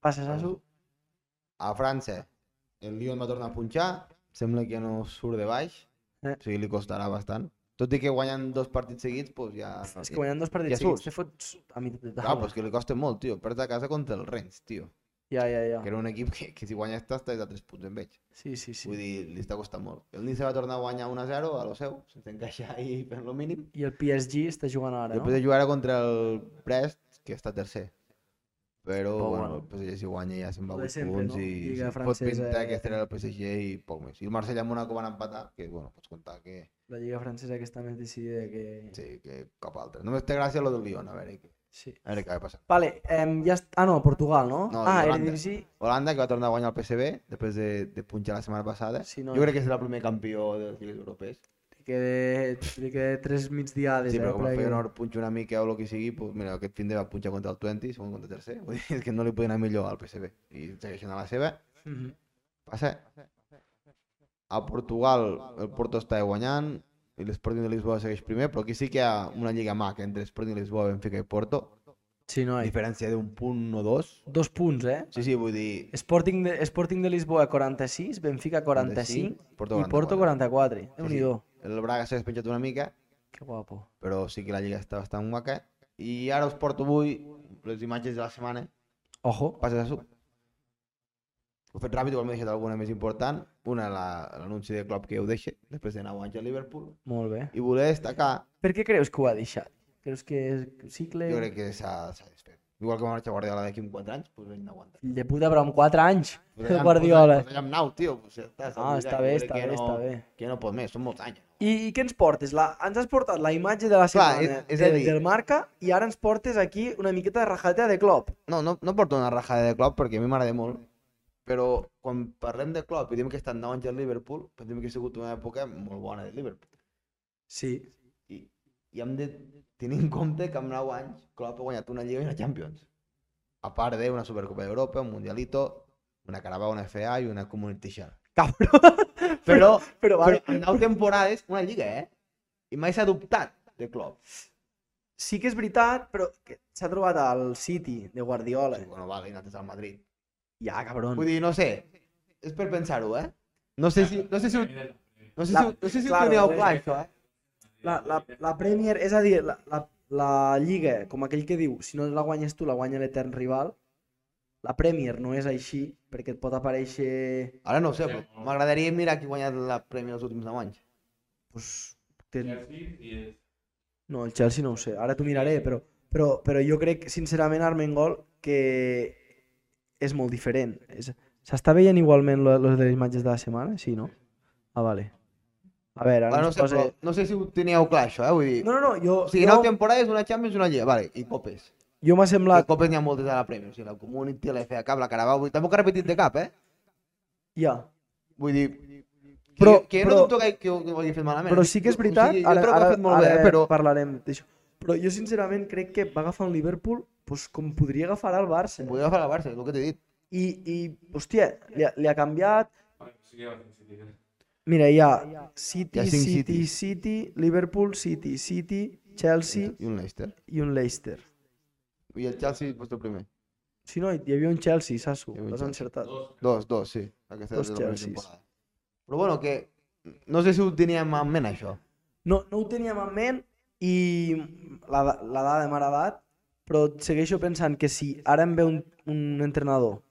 Speaker 1: Passes a su?
Speaker 2: A França, el Lyon va tornar a punxar. Sembla que no surt de baix.
Speaker 1: Eh.
Speaker 2: O sigui, li costarà bastant. Tot i que guanyen dos partits seguits, doncs ja...
Speaker 1: És que guanyant dos partits
Speaker 2: Ja surts.
Speaker 1: seguits te fots a mi de
Speaker 2: Clar,
Speaker 1: taula.
Speaker 2: però és que li costa molt, tio. Perds a casa contra el Rennes, tio.
Speaker 1: Ja, ja, ja.
Speaker 2: Que era un equip que, que si guanyes t'estàs a 3 punts en veig.
Speaker 1: Sí, sí, sí.
Speaker 2: Vull dir, li està costant molt. El Nice va tornar a guanyar 1-0 a lo seu, sense encaixar ahir per lo mínim.
Speaker 1: I el PSG està jugant ara,
Speaker 2: Després
Speaker 1: no?
Speaker 2: de jugar ara contra el Brest, que està tercer. Però,
Speaker 1: Però,
Speaker 2: bueno,
Speaker 1: bueno,
Speaker 2: pues el PSG si guanya ja se'n va
Speaker 1: el de
Speaker 2: 8
Speaker 1: sempre,
Speaker 2: punts
Speaker 1: no?
Speaker 2: i
Speaker 1: Lliga
Speaker 2: se'n pot
Speaker 1: francesa,
Speaker 2: pintar
Speaker 1: eh?
Speaker 2: que estarà el PSG i poc més. I el Marsella i el Mónaco van empatar, que bueno, pots comptar que,
Speaker 1: La lliga francesa que està més decidida que...
Speaker 2: sí, que cap altre. Només té gràcia lo del Lyon, a veure, què-
Speaker 1: sí.
Speaker 2: a veure què va passar.
Speaker 1: Vale, em, ja est- Ah, no, Portugal, no?
Speaker 2: No,
Speaker 1: ah,
Speaker 2: Holanda.
Speaker 1: Eredivisie...
Speaker 2: Holanda, que va tornar a guanyar el PSV després de, de punxar la setmana passada.
Speaker 1: Sí, no,
Speaker 2: jo crec que serà el primer campió de les lligues europees.
Speaker 1: Li quedé, li quedé tres migdiades.
Speaker 2: Sí,
Speaker 1: eh,
Speaker 2: però com el
Speaker 1: perquè-
Speaker 2: Feyenoord punxa una mica o el que sigui, pues, mira, aquest fin de va punxar contra el 20, segon contra el tercer. Vull dir, és que no li podien anar millor al PSV. I segueixen a la seva.
Speaker 1: Mhm.
Speaker 2: Passa. A Portugal el Porto està guanyant i l'Sporting de Lisboa segueix primer, però aquí sí que hi ha una lliga maca entre l'Sporting de Lisboa, Benfica i Porto.
Speaker 1: Sí,
Speaker 2: A
Speaker 1: noi.
Speaker 2: diferència d'un punt o dos.
Speaker 1: Dos punts, eh?
Speaker 2: Sí, sí, vull dir...
Speaker 1: Sporting de, Sporting de Lisboa 46, Benfica 45
Speaker 2: Porto
Speaker 1: i Porto 44. déu nhi
Speaker 2: El Braga s'ha despenjat una mica,
Speaker 1: Que guapo.
Speaker 2: però sí que la lliga està bastant guaca. I ara us porto avui les imatges de la setmana.
Speaker 1: Ojo.
Speaker 2: Passes a su. Ho he fet ràpid, igual m'he deixat alguna més important. Una, la- l'anunci de Klopp que ho deixa, després de 9 anys a Liverpool.
Speaker 1: Molt bé.
Speaker 2: I voler destacar,
Speaker 1: Per què creus que ho ha deixat? Creus que és cicle?
Speaker 2: jo crec que s'ha s'ha desfet. Igual que va marxar Guardiola d'aquí uns 4 anys, doncs ell no aguanta.
Speaker 1: Fill de puta, però amb 4 anys.
Speaker 2: Pues allà-
Speaker 1: Guardiola.
Speaker 2: Pues allà amb nau, tio. Pues ja està, s'ha
Speaker 1: Ah,
Speaker 2: oblidat,
Speaker 1: està
Speaker 2: jo
Speaker 1: bé,
Speaker 2: crec
Speaker 1: està
Speaker 2: que
Speaker 1: bé,
Speaker 2: no,
Speaker 1: està bé.
Speaker 2: Que no pot més, són molts anys.
Speaker 1: I, I què ens portes? La, ens has portat la imatge de la
Speaker 2: Clar,
Speaker 1: setmana
Speaker 2: és- és a
Speaker 1: de,
Speaker 2: dir-
Speaker 1: del Marca i ara ens portes aquí una miqueta de rajata de Klopp.
Speaker 2: No, no, no porto una rajada de Klopp perquè a mi m'agrada molt, però quan parlem de Klopp i diem que ha estat 9 anys al Liverpool, pensem que ha sigut una època molt bona de Liverpool.
Speaker 1: Sí.
Speaker 2: I, i hem de tenir en compte que amb 9 anys Klopp ha guanyat una Lliga i una Champions. A part d'una Supercopa d'Europa, un Mundialito, una Carabao, una FA i una Community Shield.
Speaker 1: Cabró.
Speaker 2: Però,
Speaker 1: però,
Speaker 2: però
Speaker 1: vale.
Speaker 2: en 9 temporades, una Lliga, eh? I mai s'ha dubtat de Klopp.
Speaker 1: Sí que és veritat, però que s'ha trobat al City de Guardiola.
Speaker 2: Sí, bueno, vale, i nosaltres al Madrid.
Speaker 1: Ja, cabron.
Speaker 2: Vull dir, no sé, és per pensar-ho, eh? No sé si, no sé si, ho- no sé si, ho- no sé si ho
Speaker 1: Claro,
Speaker 2: teníeu
Speaker 1: eh?
Speaker 2: clar, això, eh?
Speaker 1: La, la, la Premier, és a dir, la, la, la Lliga, com aquell que diu, si no la guanyes tu, la guanya l'etern rival. La Premier no és així, perquè et pot aparèixer...
Speaker 2: Ara no ho sé, però m'agradaria mirar qui ha guanyat la Premi els últims 9 anys.
Speaker 1: Pues, ten... No, el Chelsea no ho sé, ara t'ho miraré, però, però, però jo crec, sincerament, Armengol, que és molt diferent. És- S'està veient igualment lo, lo de les imatges de la setmana? Sí, no? Ah, vale. A veure, ara
Speaker 2: Ara no
Speaker 1: ens
Speaker 2: sé,
Speaker 1: posa...
Speaker 2: però, no sé si ho teníeu clar, això, eh? Vull dir,
Speaker 1: No, no, no, jo,
Speaker 2: O sigui,
Speaker 1: jo,
Speaker 2: nou temporades, una Champions, una Lliga, vale, i copes.
Speaker 1: jo m'ha
Speaker 2: La...
Speaker 1: semblat...
Speaker 2: copes n'hi ha moltes a la Premier, o sigui, la Community, la FA Cup, la Carabao, vull dir, tampoc ha repetit de cap, eh?
Speaker 1: Ja.
Speaker 2: Vull dir,
Speaker 1: Però-
Speaker 2: que, que
Speaker 1: però-
Speaker 2: no dubto que, que ho, que ho hagi fet malament.
Speaker 1: Però sí que és veritat,
Speaker 2: o sigui, jo
Speaker 1: ara,
Speaker 2: crec que
Speaker 1: ara,
Speaker 2: ho ha fet molt
Speaker 1: ara
Speaker 2: bé, eh? però...
Speaker 1: parlarem d'això. Però jo sincerament crec que va agafar un Liverpool doncs, com podria agafar el Barça.
Speaker 2: Vull agafar la Barça, és el que t'he dit.
Speaker 1: I, i hòstia, li ha, li ha canviat... Mira, hi ha City,
Speaker 2: Hi ha cinc
Speaker 1: City, City,
Speaker 2: Cities.
Speaker 1: Liverpool, City, City, Chelsea
Speaker 2: I un Leicester.
Speaker 1: i un Leicester.
Speaker 2: I el Chelsea, pues, el primer.
Speaker 1: Si no, hi havia un Chelsea, Sasu,
Speaker 2: Hi havia un
Speaker 1: l'has
Speaker 2: Chelsea.
Speaker 1: encertat.
Speaker 2: Dos, dos, sí. Aquesta
Speaker 1: Dos
Speaker 2: és la primera
Speaker 1: Chelseas.
Speaker 2: temporada. Però bueno, que no sé si ho teníem en ment, això.
Speaker 1: No, no ho teníem en ment i la, da- la dada m'ha agradat, però segueixo pensant que si ara em ve un, un entrenador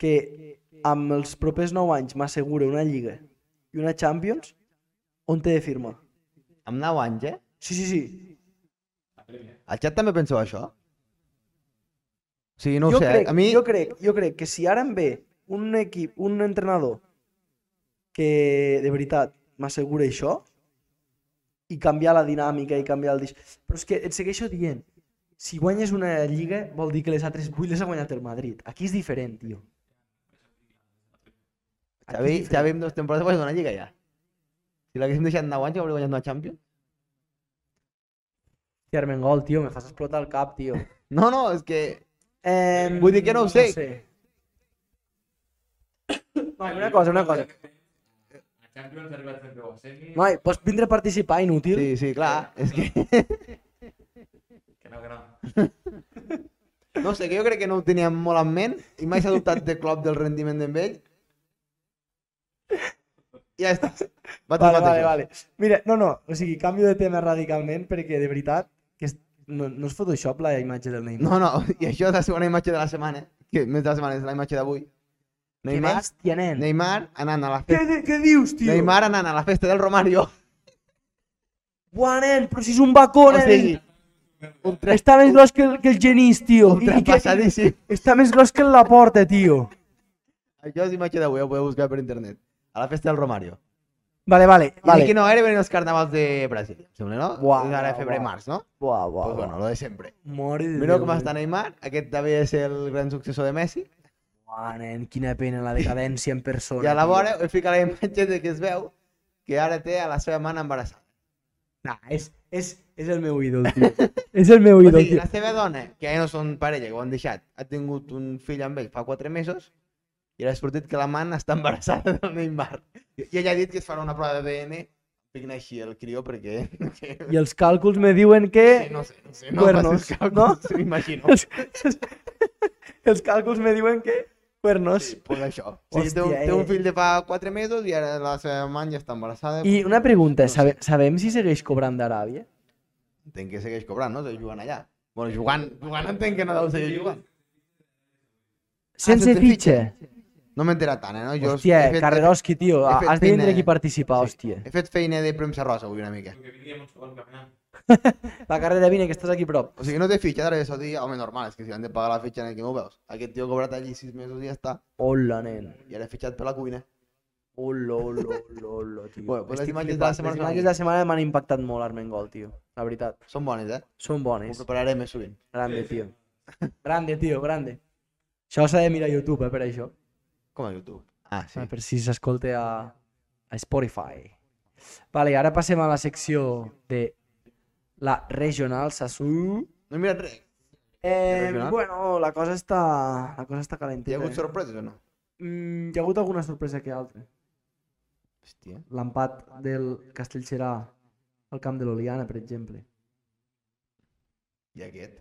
Speaker 1: que amb els propers 9 anys m'assegura una Lliga i una Champions, on t'he de firmar?
Speaker 2: Amb 9 anys, eh?
Speaker 1: Sí, sí, sí.
Speaker 2: Al xat també penseu això? O sigui, no ho
Speaker 1: jo,
Speaker 2: sé, eh?
Speaker 1: crec,
Speaker 2: a mi...
Speaker 1: jo, crec, jo crec que si ara em ve un equip, un entrenador que de veritat m'assegura això i canviar la dinàmica i canviar el... dis- Però és que et segueixo dient, si guanyes una lliga vol dir que les altres 8 les ha guanyat el Madrid. Aquí és diferent, tio. Aquí
Speaker 2: Xavi,
Speaker 1: és
Speaker 2: Xavi
Speaker 1: diferent.
Speaker 2: amb dues temporades guanyat una lliga ja. Si l'haguéssim deixat 9 anys, hauria guanyat una Champions.
Speaker 1: Hòstia, Armengol, tio, me fas explotar el cap, tio.
Speaker 2: No, no, és que...
Speaker 1: Eh,
Speaker 2: Vull dir que no ho sé.
Speaker 1: Noi, una cosa, una cosa.
Speaker 3: A Champions ha arribat sempre a semis.
Speaker 1: Noi, pots vindre a participar, inútil?
Speaker 2: Sí, sí, clar, és que...
Speaker 3: Que no, que no.
Speaker 2: No sé, que jo crec que no ho teníem molt en ment i mai s'ha dubtat de Klopp del rendiment d'en ell. Ja està.
Speaker 1: Vale,
Speaker 2: Va tomar-te
Speaker 1: vale,
Speaker 2: això.
Speaker 1: vale. Mira, no, no, o sigui, canvio de tema radicalment perquè de veritat que és, no, no és Photoshop la imatge del Neymar.
Speaker 2: No, no, i això és la segona imatge de la setmana, que més de la setmana és la imatge d'avui.
Speaker 1: que
Speaker 2: Neymar,
Speaker 1: bèstia, nen.
Speaker 2: Neymar anant a la
Speaker 1: Què,
Speaker 2: festa.
Speaker 1: què- què dius, tio?
Speaker 2: Neymar anant a la festa del Romario.
Speaker 1: Buah, nen, però si és un bacó,
Speaker 2: O
Speaker 1: nen.
Speaker 2: sigui,
Speaker 1: Està més gros que el, que el genís, tio. I- i que-
Speaker 2: Ultrapassadíssim.
Speaker 1: Està més gros que el Laporta, tio.
Speaker 2: Això és imatge d'avui, ho podeu buscar per internet. A la festa del Romario.
Speaker 1: Vale, vale,
Speaker 2: Vale. I
Speaker 1: vale.
Speaker 2: que no, ara venen els carnavals de Brasil, em sembla, no?
Speaker 1: Buah,
Speaker 2: És ara
Speaker 1: buah,
Speaker 2: febrer,
Speaker 1: buah.
Speaker 2: març, no?
Speaker 1: Buah, buah,
Speaker 2: pues bueno,
Speaker 1: buah.
Speaker 2: lo de sempre.
Speaker 1: Mare de
Speaker 2: Mira
Speaker 1: Déu,
Speaker 2: com
Speaker 1: nen.
Speaker 2: està Neymar, aquest també és el gran successor de Messi.
Speaker 1: Buah, nen, quina pena, la decadència en persona.
Speaker 2: I a la
Speaker 1: tio.
Speaker 2: vora he ficat la imatge de que es veu que ara té a la seva mana embarassada.
Speaker 1: Nah, és, és, és el meu ídol, tio. és el meu
Speaker 2: O
Speaker 1: ídol,
Speaker 2: sigui,
Speaker 1: tio.
Speaker 2: Pues la seva dona, que ja no són parella, que ho han deixat, ha tingut un fill amb ell fa 4 mesos i ara ha sortit que la mana està embarassada del Neymar. I ella ha dit que es farà una prova d'ADN, pic així el crió perquè... que-
Speaker 1: I els càlculs me diuen que...
Speaker 2: Sí, no sé, no sé, no
Speaker 1: Cuernos,
Speaker 2: facis càlculs, m'imagino.
Speaker 1: Els, els càlculs me diuen que... Cuernos.
Speaker 2: Sí, pues això. O sigui, té, un,
Speaker 1: Hòstia,
Speaker 2: té un
Speaker 1: eh.
Speaker 2: fill de fa 4 mesos i ara la seva mare ja està embarassada.
Speaker 1: I una pregunta,
Speaker 2: No sé.
Speaker 1: sabe, sabem si segueix cobrant d'Aràbia?
Speaker 2: Entenc que segueix cobrant, no? Segueix jugant allà. Bueno, jugant, jugant entenc que no deu seguir jugant.
Speaker 1: Sense
Speaker 2: sense
Speaker 1: fitxa.
Speaker 2: No m'he enterat tant, eh? No? Jo
Speaker 1: Hòstia,
Speaker 2: he fet-
Speaker 1: Carreroski, tio,
Speaker 2: he fet
Speaker 1: has de vindre
Speaker 2: feina-
Speaker 1: aquí a participar,
Speaker 2: Sí.
Speaker 1: hòstia.
Speaker 2: He fet feina de premsa rosa avui una mica.
Speaker 3: que vindríem un segon caminant.
Speaker 1: La carrera, vine, que estàs aquí a prop.
Speaker 2: O sigui, no té fitxa d'Aràbia Saudita, home, normal, és que si han de pagar la fitxa en aquí no ho veus. Aquest tio ha cobrat allí 6 mesos i ja està,
Speaker 1: Hola, nen.
Speaker 2: i ara he fitxat per la cuina.
Speaker 1: Hola, hola, hola, hola, tio.
Speaker 2: Bueno, pues les
Speaker 1: Estic
Speaker 2: imatges de la
Speaker 1: flipant.
Speaker 2: setmana
Speaker 1: Les imatges de la setmana m'han impactat molt, Armengol, tio. La veritat.
Speaker 2: Són bones, eh?
Speaker 1: Són
Speaker 2: Ho
Speaker 1: bones.
Speaker 2: prepararé més sovint.
Speaker 1: Grande, tio. Grande, tio, grande. Això s'ha de mirar a YouTube, eh, per això.
Speaker 2: Com a YouTube. Ah, sí.
Speaker 1: Ah, Per si s'escolta a, a Spotify. Vale, ara passem a la secció de la regional Sassou.
Speaker 2: No he mirat res.
Speaker 1: Eh,
Speaker 2: Regional?
Speaker 1: bueno, la cosa està, la cosa està calenteta.
Speaker 2: Hi ha hagut
Speaker 1: eh?
Speaker 2: sorpreses o no?
Speaker 1: Mm, hi ha hagut alguna sorpresa que altra.
Speaker 2: Hòstia.
Speaker 1: L'empat del Castellserà al camp de l'Oliana, per exemple.
Speaker 2: I aquest?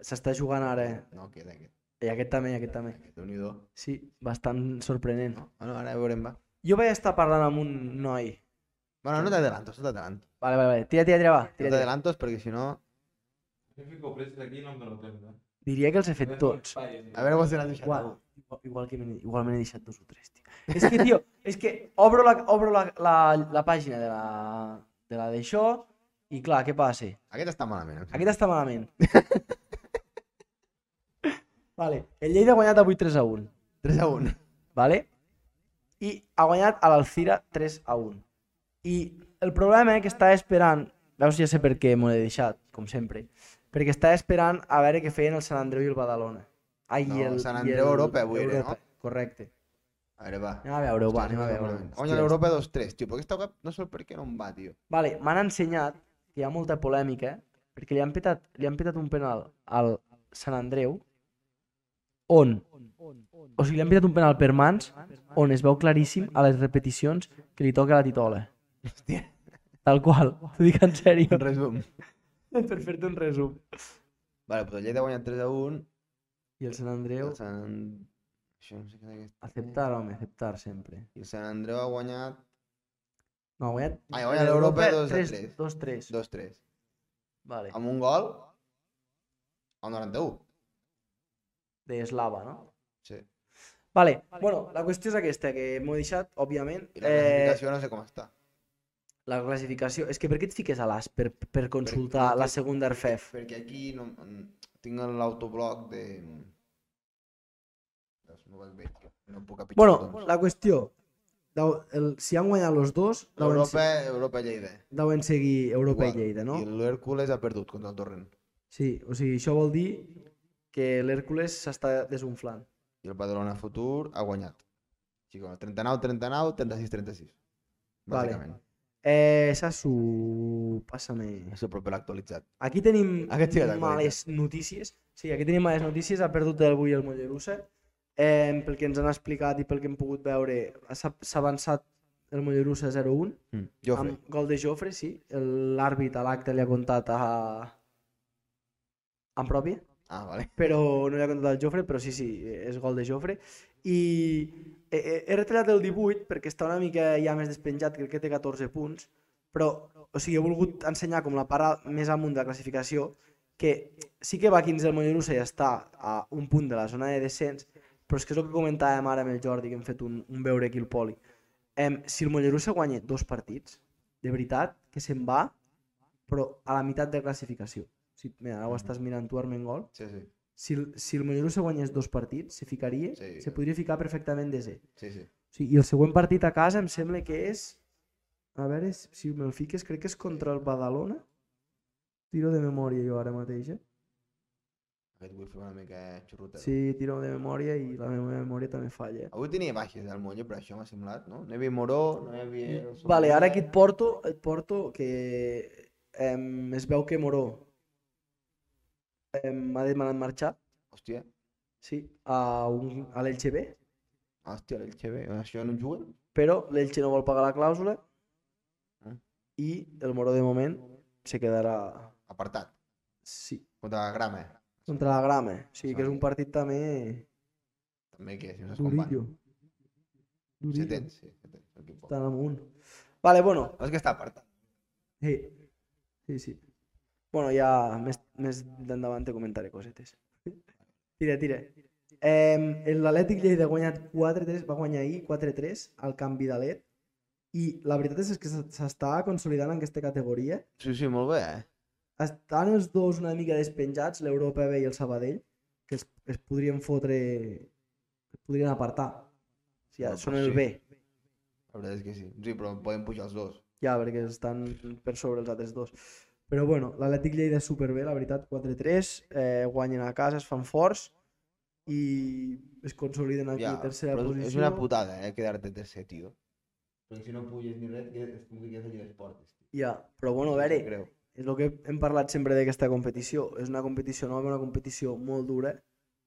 Speaker 1: S'està jugant ara. eh?
Speaker 2: No, aquest, aquest.
Speaker 1: I aquest també, i aquest també.
Speaker 2: aquest. Déu-n'hi-do.
Speaker 1: Sí, bastant sorprenent.
Speaker 2: Bueno, ara veurem, va.
Speaker 1: Jo vaig estar parlant amb un noi.
Speaker 2: Bueno, no t'adelantos, no t'adelantos.
Speaker 1: Vale, vale, vale. Tira, tira, tira, va.
Speaker 2: No
Speaker 1: Tira, tira.
Speaker 2: t'adelantos perquè si no...
Speaker 3: Yo fico presos aquí y no me lo tengo.
Speaker 1: Diria que els he fet tots.
Speaker 2: A veure quan se n'has deixat.
Speaker 1: Igual,
Speaker 2: algú.
Speaker 1: igual, igual que me n'he- igual me n'he deixat dos o tres, tio. És que, tio, és que obro la, obro la, la, la pàgina de la de la d'això i clar, què passa?
Speaker 2: Aquest està malament. em sembla.
Speaker 1: Aquest està malament. vale. El Lleida ha guanyat avui 3 a 1,
Speaker 2: 3 a 1.
Speaker 1: vale? i ha guanyat a l'Alcira 3 a 1. I el problema eh, que està esperant, veus ja sé per què m'ho he deixat, com sempre, perquè està esperant a veure què feien el Sant Andreu i el Badalona. Ai,
Speaker 2: No,
Speaker 1: i el,
Speaker 2: el Sant
Speaker 1: i
Speaker 2: Andreu
Speaker 1: el
Speaker 2: Europa avui era,
Speaker 1: Europa,
Speaker 2: no?
Speaker 1: Correcte.
Speaker 2: A veure, va.
Speaker 1: Anem a veure-ho, va, anem a
Speaker 2: Hòstia,
Speaker 1: veure.
Speaker 2: Guanya l'Europa 2-3, tio, però aquesta web no sé per què no em va, tio.
Speaker 1: Vale, m'han ensenyat que hi ha molta polèmica, perquè li han petat, li han petat un penal al Sant Andreu, on, o sigui, li han petat un penal per mans, on es veu claríssim a les repeticions que li toca la titola.
Speaker 2: Hòstia.
Speaker 1: Tal qual, t'ho dic en sèrio,
Speaker 2: En resum.
Speaker 1: per fer-te un resum.
Speaker 2: Vale, pues el Lleida ha guanyat 3 a 1.
Speaker 1: I el Sant
Speaker 2: I
Speaker 1: Andreu,
Speaker 2: el Sant... Això no sé què d'aquest...
Speaker 1: acceptar, home, acceptar sempre.
Speaker 2: I el Sant Andreu ha guanyat
Speaker 1: No, ha guanyat...
Speaker 2: Ah, ha guanyat l'Europa dos a
Speaker 1: 2-3.
Speaker 2: tres. 2-3.
Speaker 1: Vale,
Speaker 2: Amb un gol... Al 91.
Speaker 1: de Slava, no?
Speaker 2: Sí.
Speaker 1: Vale, bueno, la qüestió és aquesta, que m'ho he deixat, òbviament. eh,
Speaker 2: I la classificació no sé com està.
Speaker 1: La classificació... És que per què et fiques a l'AS per, per consultar
Speaker 2: perquè-
Speaker 1: la segona RFEF?
Speaker 2: Perquè aquí no... mm, Tinc l'autobloc de... mm, Doncs no ho vaig bé, tio. No puc capitxar.
Speaker 1: Bueno, la qüestió... Deu, el, si han guanyat els dos, deuen,
Speaker 2: Europa,
Speaker 1: Europa...
Speaker 2: Europa Lleida.
Speaker 1: deuen seguir Europa i
Speaker 2: Igual.
Speaker 1: Lleida, no?
Speaker 2: I l'Hércules ha perdut contra el Torrent.
Speaker 1: Sí, o sigui, això vol dir que l'Hèrcules s'està desunflant.
Speaker 2: I el Badalona Futur ha guanyat. Així com el 39, 39, 36, 36.
Speaker 1: Vale.
Speaker 2: Bàsicament.
Speaker 1: Eh, Sassu, passa-me...
Speaker 2: És el proper actualitzat.
Speaker 1: Aquí tenim
Speaker 2: Aquest sí que t'ha
Speaker 1: males notícies. Sí, aquí tenim males notícies. Ha perdut avui el Mollerussa. Eh, pel que ens han explicat i pel que hem pogut veure, s'ha s'ha avançat el Mollerussa 0-1.
Speaker 2: Mm. Jofre.
Speaker 1: Amb gol de Jofre, sí. El- L'àrbit a l'acte li ha contat a... en pròpia,
Speaker 2: Ah, vale.
Speaker 1: però no li ha contat al Jofre, però sí, sí, és gol de Jofre. I he, he- he retallat el 18 perquè està una mica ja més despenjat, crec que té 14 punts, però o sigui, he volgut ensenyar com la part a- més amunt de la classificació, que sí que va 15 el Mollerussa i està a un punt de la zona de descens, però és que és el que comentàvem ara amb el Jordi, que hem fet un, un veure aquí al poli. Em, si el Mollerussa guanya dos partits, de veritat, que se'n va, però a la meitat de classificació. Si, mira, ara ho estàs mirant tu, Armengol.
Speaker 2: Sí, sí,
Speaker 1: Si, el- si el Mollerussa guanyés dos partits, se ficaria,
Speaker 2: Sí.
Speaker 1: se podria ficar perfectament desè.
Speaker 2: sí, sí.
Speaker 1: O sigui, I el següent partit a casa em sembla que és... A veure, si- si me'l fiques, crec que és contra el Badalona. Tiro de memòria jo ara mateix, eh?
Speaker 2: Aquest vull fer una mica xurrutero.
Speaker 1: Sí, tiro de memòria i la meva memòria també falla. eh?
Speaker 2: Avui tenia baixes del Molle, però això m'ha semblat, no? No hi havia Moró, no hi havia... el
Speaker 1: Vale, ara aquí et
Speaker 2: Solsona.
Speaker 1: porto, et porto que em, es veu que Moró em, ha demanat marxar,
Speaker 2: Hòstia,
Speaker 1: sí, a, un, a l'Elche B,
Speaker 2: hòstia, l'Elche B. Això no juguen?
Speaker 1: però l'Elche no vol pagar la clàusula
Speaker 2: Mm.
Speaker 1: i el Moró de moment se quedarà,
Speaker 2: Apartat.
Speaker 1: sí,
Speaker 2: Contra la grama. eh?
Speaker 1: contra la grama. O sigui que és
Speaker 2: Exacte.
Speaker 1: un partit també
Speaker 2: També que si no saps com van.
Speaker 1: durillo.
Speaker 2: Sí,
Speaker 1: Durillo,
Speaker 2: tens, sí, sí, tens. Aquí poc.
Speaker 1: tan amunt. Vale, bueno,
Speaker 2: No, és que està apartat.
Speaker 1: sí, sí, sí. Bueno, ja més, més d'endavant te comentaré cosetes. Tira, tira. Eh, L'Atlètic Lleida ha guanyat 4-3, va guanyar ahir 4-3 al Camp Vidalet i la veritat és que s'es- s'està consolidant en aquesta categoria.
Speaker 2: Sí, sí, molt bé, eh?
Speaker 1: Estan els dos una mica despenjats, l'Europa B i el Sabadell, que es, es podrien fotre... es podrien apartar. O sigui,
Speaker 2: Bueno,
Speaker 1: són
Speaker 2: Ah, pues
Speaker 1: el
Speaker 2: sí.
Speaker 1: B,
Speaker 2: La veritat és que sí. Sí, però poden pujar els dos.
Speaker 1: ja, perquè estan per sobre els altres dos. Però bueno, l'Atlètic Lleida és superbé, la veritat, 4-3, eh, guanyen a casa, es fan forts i es consoliden aquí
Speaker 2: Ja,
Speaker 1: a tercera
Speaker 2: però és-
Speaker 1: posició.
Speaker 2: és una putada, eh, quedar-te tercer, tio. Perquè si no puges ni res, quedes, com que quedes allà a les portes. tio.
Speaker 1: Ja, però bueno, a
Speaker 2: Sí,
Speaker 1: veure,
Speaker 2: Creu.
Speaker 1: és el que hem parlat sempre d'aquesta competició. És una competició nova, una competició molt dura,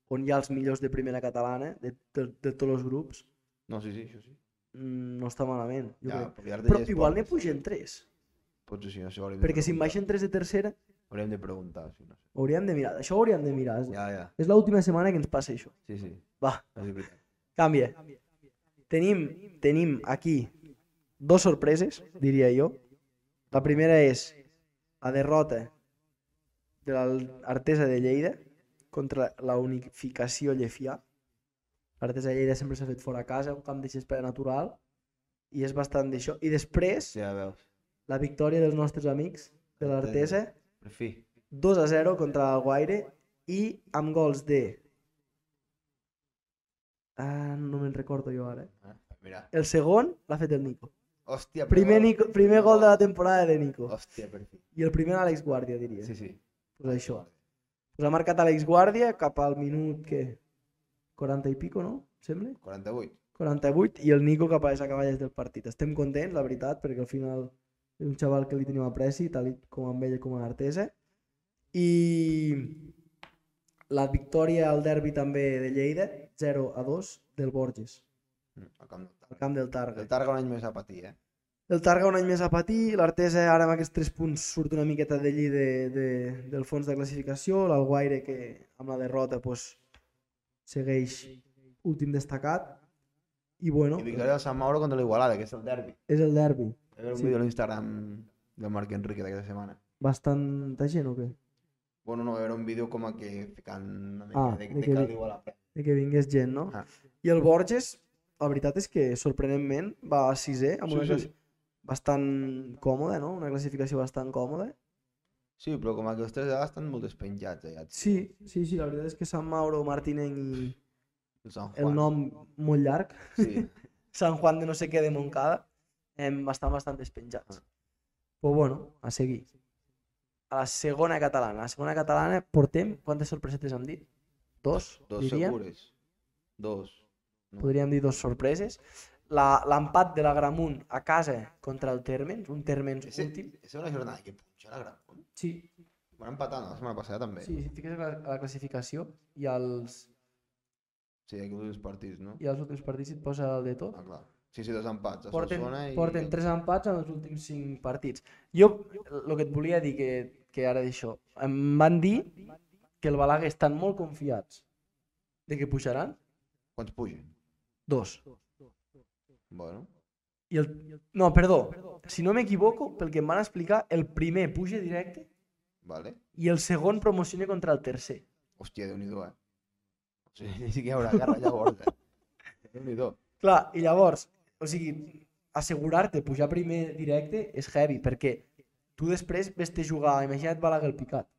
Speaker 1: on hi ha els millors de primera catalana, de, de, de tots els grups.
Speaker 2: No, sí, sí, això sí.
Speaker 1: Mm, no està malament, jo
Speaker 2: Ja,
Speaker 1: crec.
Speaker 2: per quedar-te
Speaker 1: Però
Speaker 2: allà a les
Speaker 1: igual n'hi
Speaker 2: portes.
Speaker 1: pugen tres,
Speaker 2: Potser sí, no sé, hauríem de
Speaker 1: perquè si en
Speaker 2: preguntar.
Speaker 1: baixen tres de tercera,
Speaker 2: Hauríem de preguntar, sí, no sé.
Speaker 1: hauríem de mirar. Això ho hauríem de mirar. És,
Speaker 2: Ja, ja,
Speaker 1: és l'última setmana que ens passa això.
Speaker 2: sí, sí.
Speaker 1: Va,
Speaker 2: No és veritat.
Speaker 1: canvia. Tenim, tenim aquí dos sorpreses, diria jo. La primera és la derrota de l'Artesa de Lleida contra la unificació llefià. L'Artesa de Lleida sempre s'ha fet fora a casa, un camp de xespera natural, i és bastant d'això. I després,
Speaker 2: Ja veus.
Speaker 1: la victòria dels nostres amics de l'Artesa,
Speaker 2: Per fi.
Speaker 1: 2 a 0 contra el Guaire i amb gols de... Ah, no me'n recordo jo ara. eh.
Speaker 2: Ah, Mira.
Speaker 1: El segon l'ha fet el Nico.
Speaker 2: Hòstia, però-
Speaker 1: Primer, Nico. primer gol de la temporada de Nico.
Speaker 2: Hòstia, per fi.
Speaker 1: I el primer Àlex Guàrdia, diria. Sí,
Speaker 2: Sí,
Speaker 1: sí.
Speaker 2: sí.
Speaker 1: Pues això. Pues ha marcat Àlex Guàrdia cap al minut, què? 40 i pico, no? Sembla?
Speaker 2: 48.
Speaker 1: 48 i el Nico cap a les acaballes del partit. Estem contents, la veritat, perquè al final és un xaval que li tenim apreci, tal i com amb ell com a artesa. I la victòria al derbi també de Lleida, 0 a 2 del Borges,
Speaker 2: Mm, Al camp del
Speaker 1: al
Speaker 2: Targa.
Speaker 1: camp del
Speaker 2: El
Speaker 1: Targa.
Speaker 2: Targa un any més a patir, eh?
Speaker 1: El Targa un any més a patir, l'Artesa ara amb aquests 3 punts surt una miqueta d'allí de, de, del fons de classificació, l'Alguaire que amb la derrota pues, segueix últim destacat. I bueno,
Speaker 2: I victòria del Sant Mauro contra l'Igualada, que és el derbi.
Speaker 1: és el derbi.
Speaker 2: Hi haver un
Speaker 1: Sí.
Speaker 2: vídeo a l'Instagram del Marc Enrique d'aquesta setmana.
Speaker 1: Bastanta gent o què?
Speaker 2: Bueno, no, era un vídeo com a que ficant una mica
Speaker 1: Ah,
Speaker 2: de,
Speaker 1: de
Speaker 2: de,
Speaker 1: que-
Speaker 2: que diu a la premsa.
Speaker 1: De que vingués gent, no?
Speaker 2: Ah.
Speaker 1: I el Borges, la veritat és que sorprenentment va a sisè, amb
Speaker 2: Sí,
Speaker 1: una
Speaker 2: sí.
Speaker 1: classi- bastant còmoda, no? Una classificació bastant còmoda.
Speaker 2: Sí, però com que els tres allà estan molt despenjats allà.
Speaker 1: Sí, sí, sí, la veritat és que Sant Mauro, Martinenc i
Speaker 2: El Sant Juan.
Speaker 1: el nom molt llarg,
Speaker 2: Sí.
Speaker 1: Sant Juan de no sé què de Montcada, em, estan bastant despenjats. Però Ah. bueno, a seguir. A la segona catalana. A la segona catalana portem, quantes sorpresetes hem dit? Dos,
Speaker 2: Dos
Speaker 1: diríem.
Speaker 2: segures. Dos. No.
Speaker 1: podríem dir, dos sorpreses. La- L'empat de la Gramunt a casa contra el Térmens, un Térmens
Speaker 2: Ese,
Speaker 1: últim.
Speaker 2: esa una jornada que punxa la gran.
Speaker 1: Sí,
Speaker 2: Van empatant la setmana passada també.
Speaker 1: sí, si fiques a la, a la classificació i als,
Speaker 2: Sí, aquí els partits, no?
Speaker 1: i als últims partits et posa el de tot.
Speaker 2: Ah, clar. Sí, sí, dos empats. A
Speaker 1: Porten,
Speaker 2: Solsona i...
Speaker 1: porten tres empats en els últims cinc partits. Jo, el que et volia dir que, que ara d'això, em van dir que el Balaguer estan molt confiats de que pujaran
Speaker 2: Quants pugen?
Speaker 1: dos.
Speaker 2: Bueno.
Speaker 1: I el... No, perdó, si no m'equivoco, pel que em van explicar, el primer puja directe
Speaker 2: Vale.
Speaker 1: i el segon promociona contra el tercer.
Speaker 2: Hòstia, Déu-n'hi-do, eh? O sigui, ni siquiera hi haurà guerra llavors, eh? Déu-n'hi-do.
Speaker 1: Clar, i llavors, o sigui, assegurar-te pujar primer directe és heavy, perquè tu després vés-te a jugar, imagina't Balaguer el picat,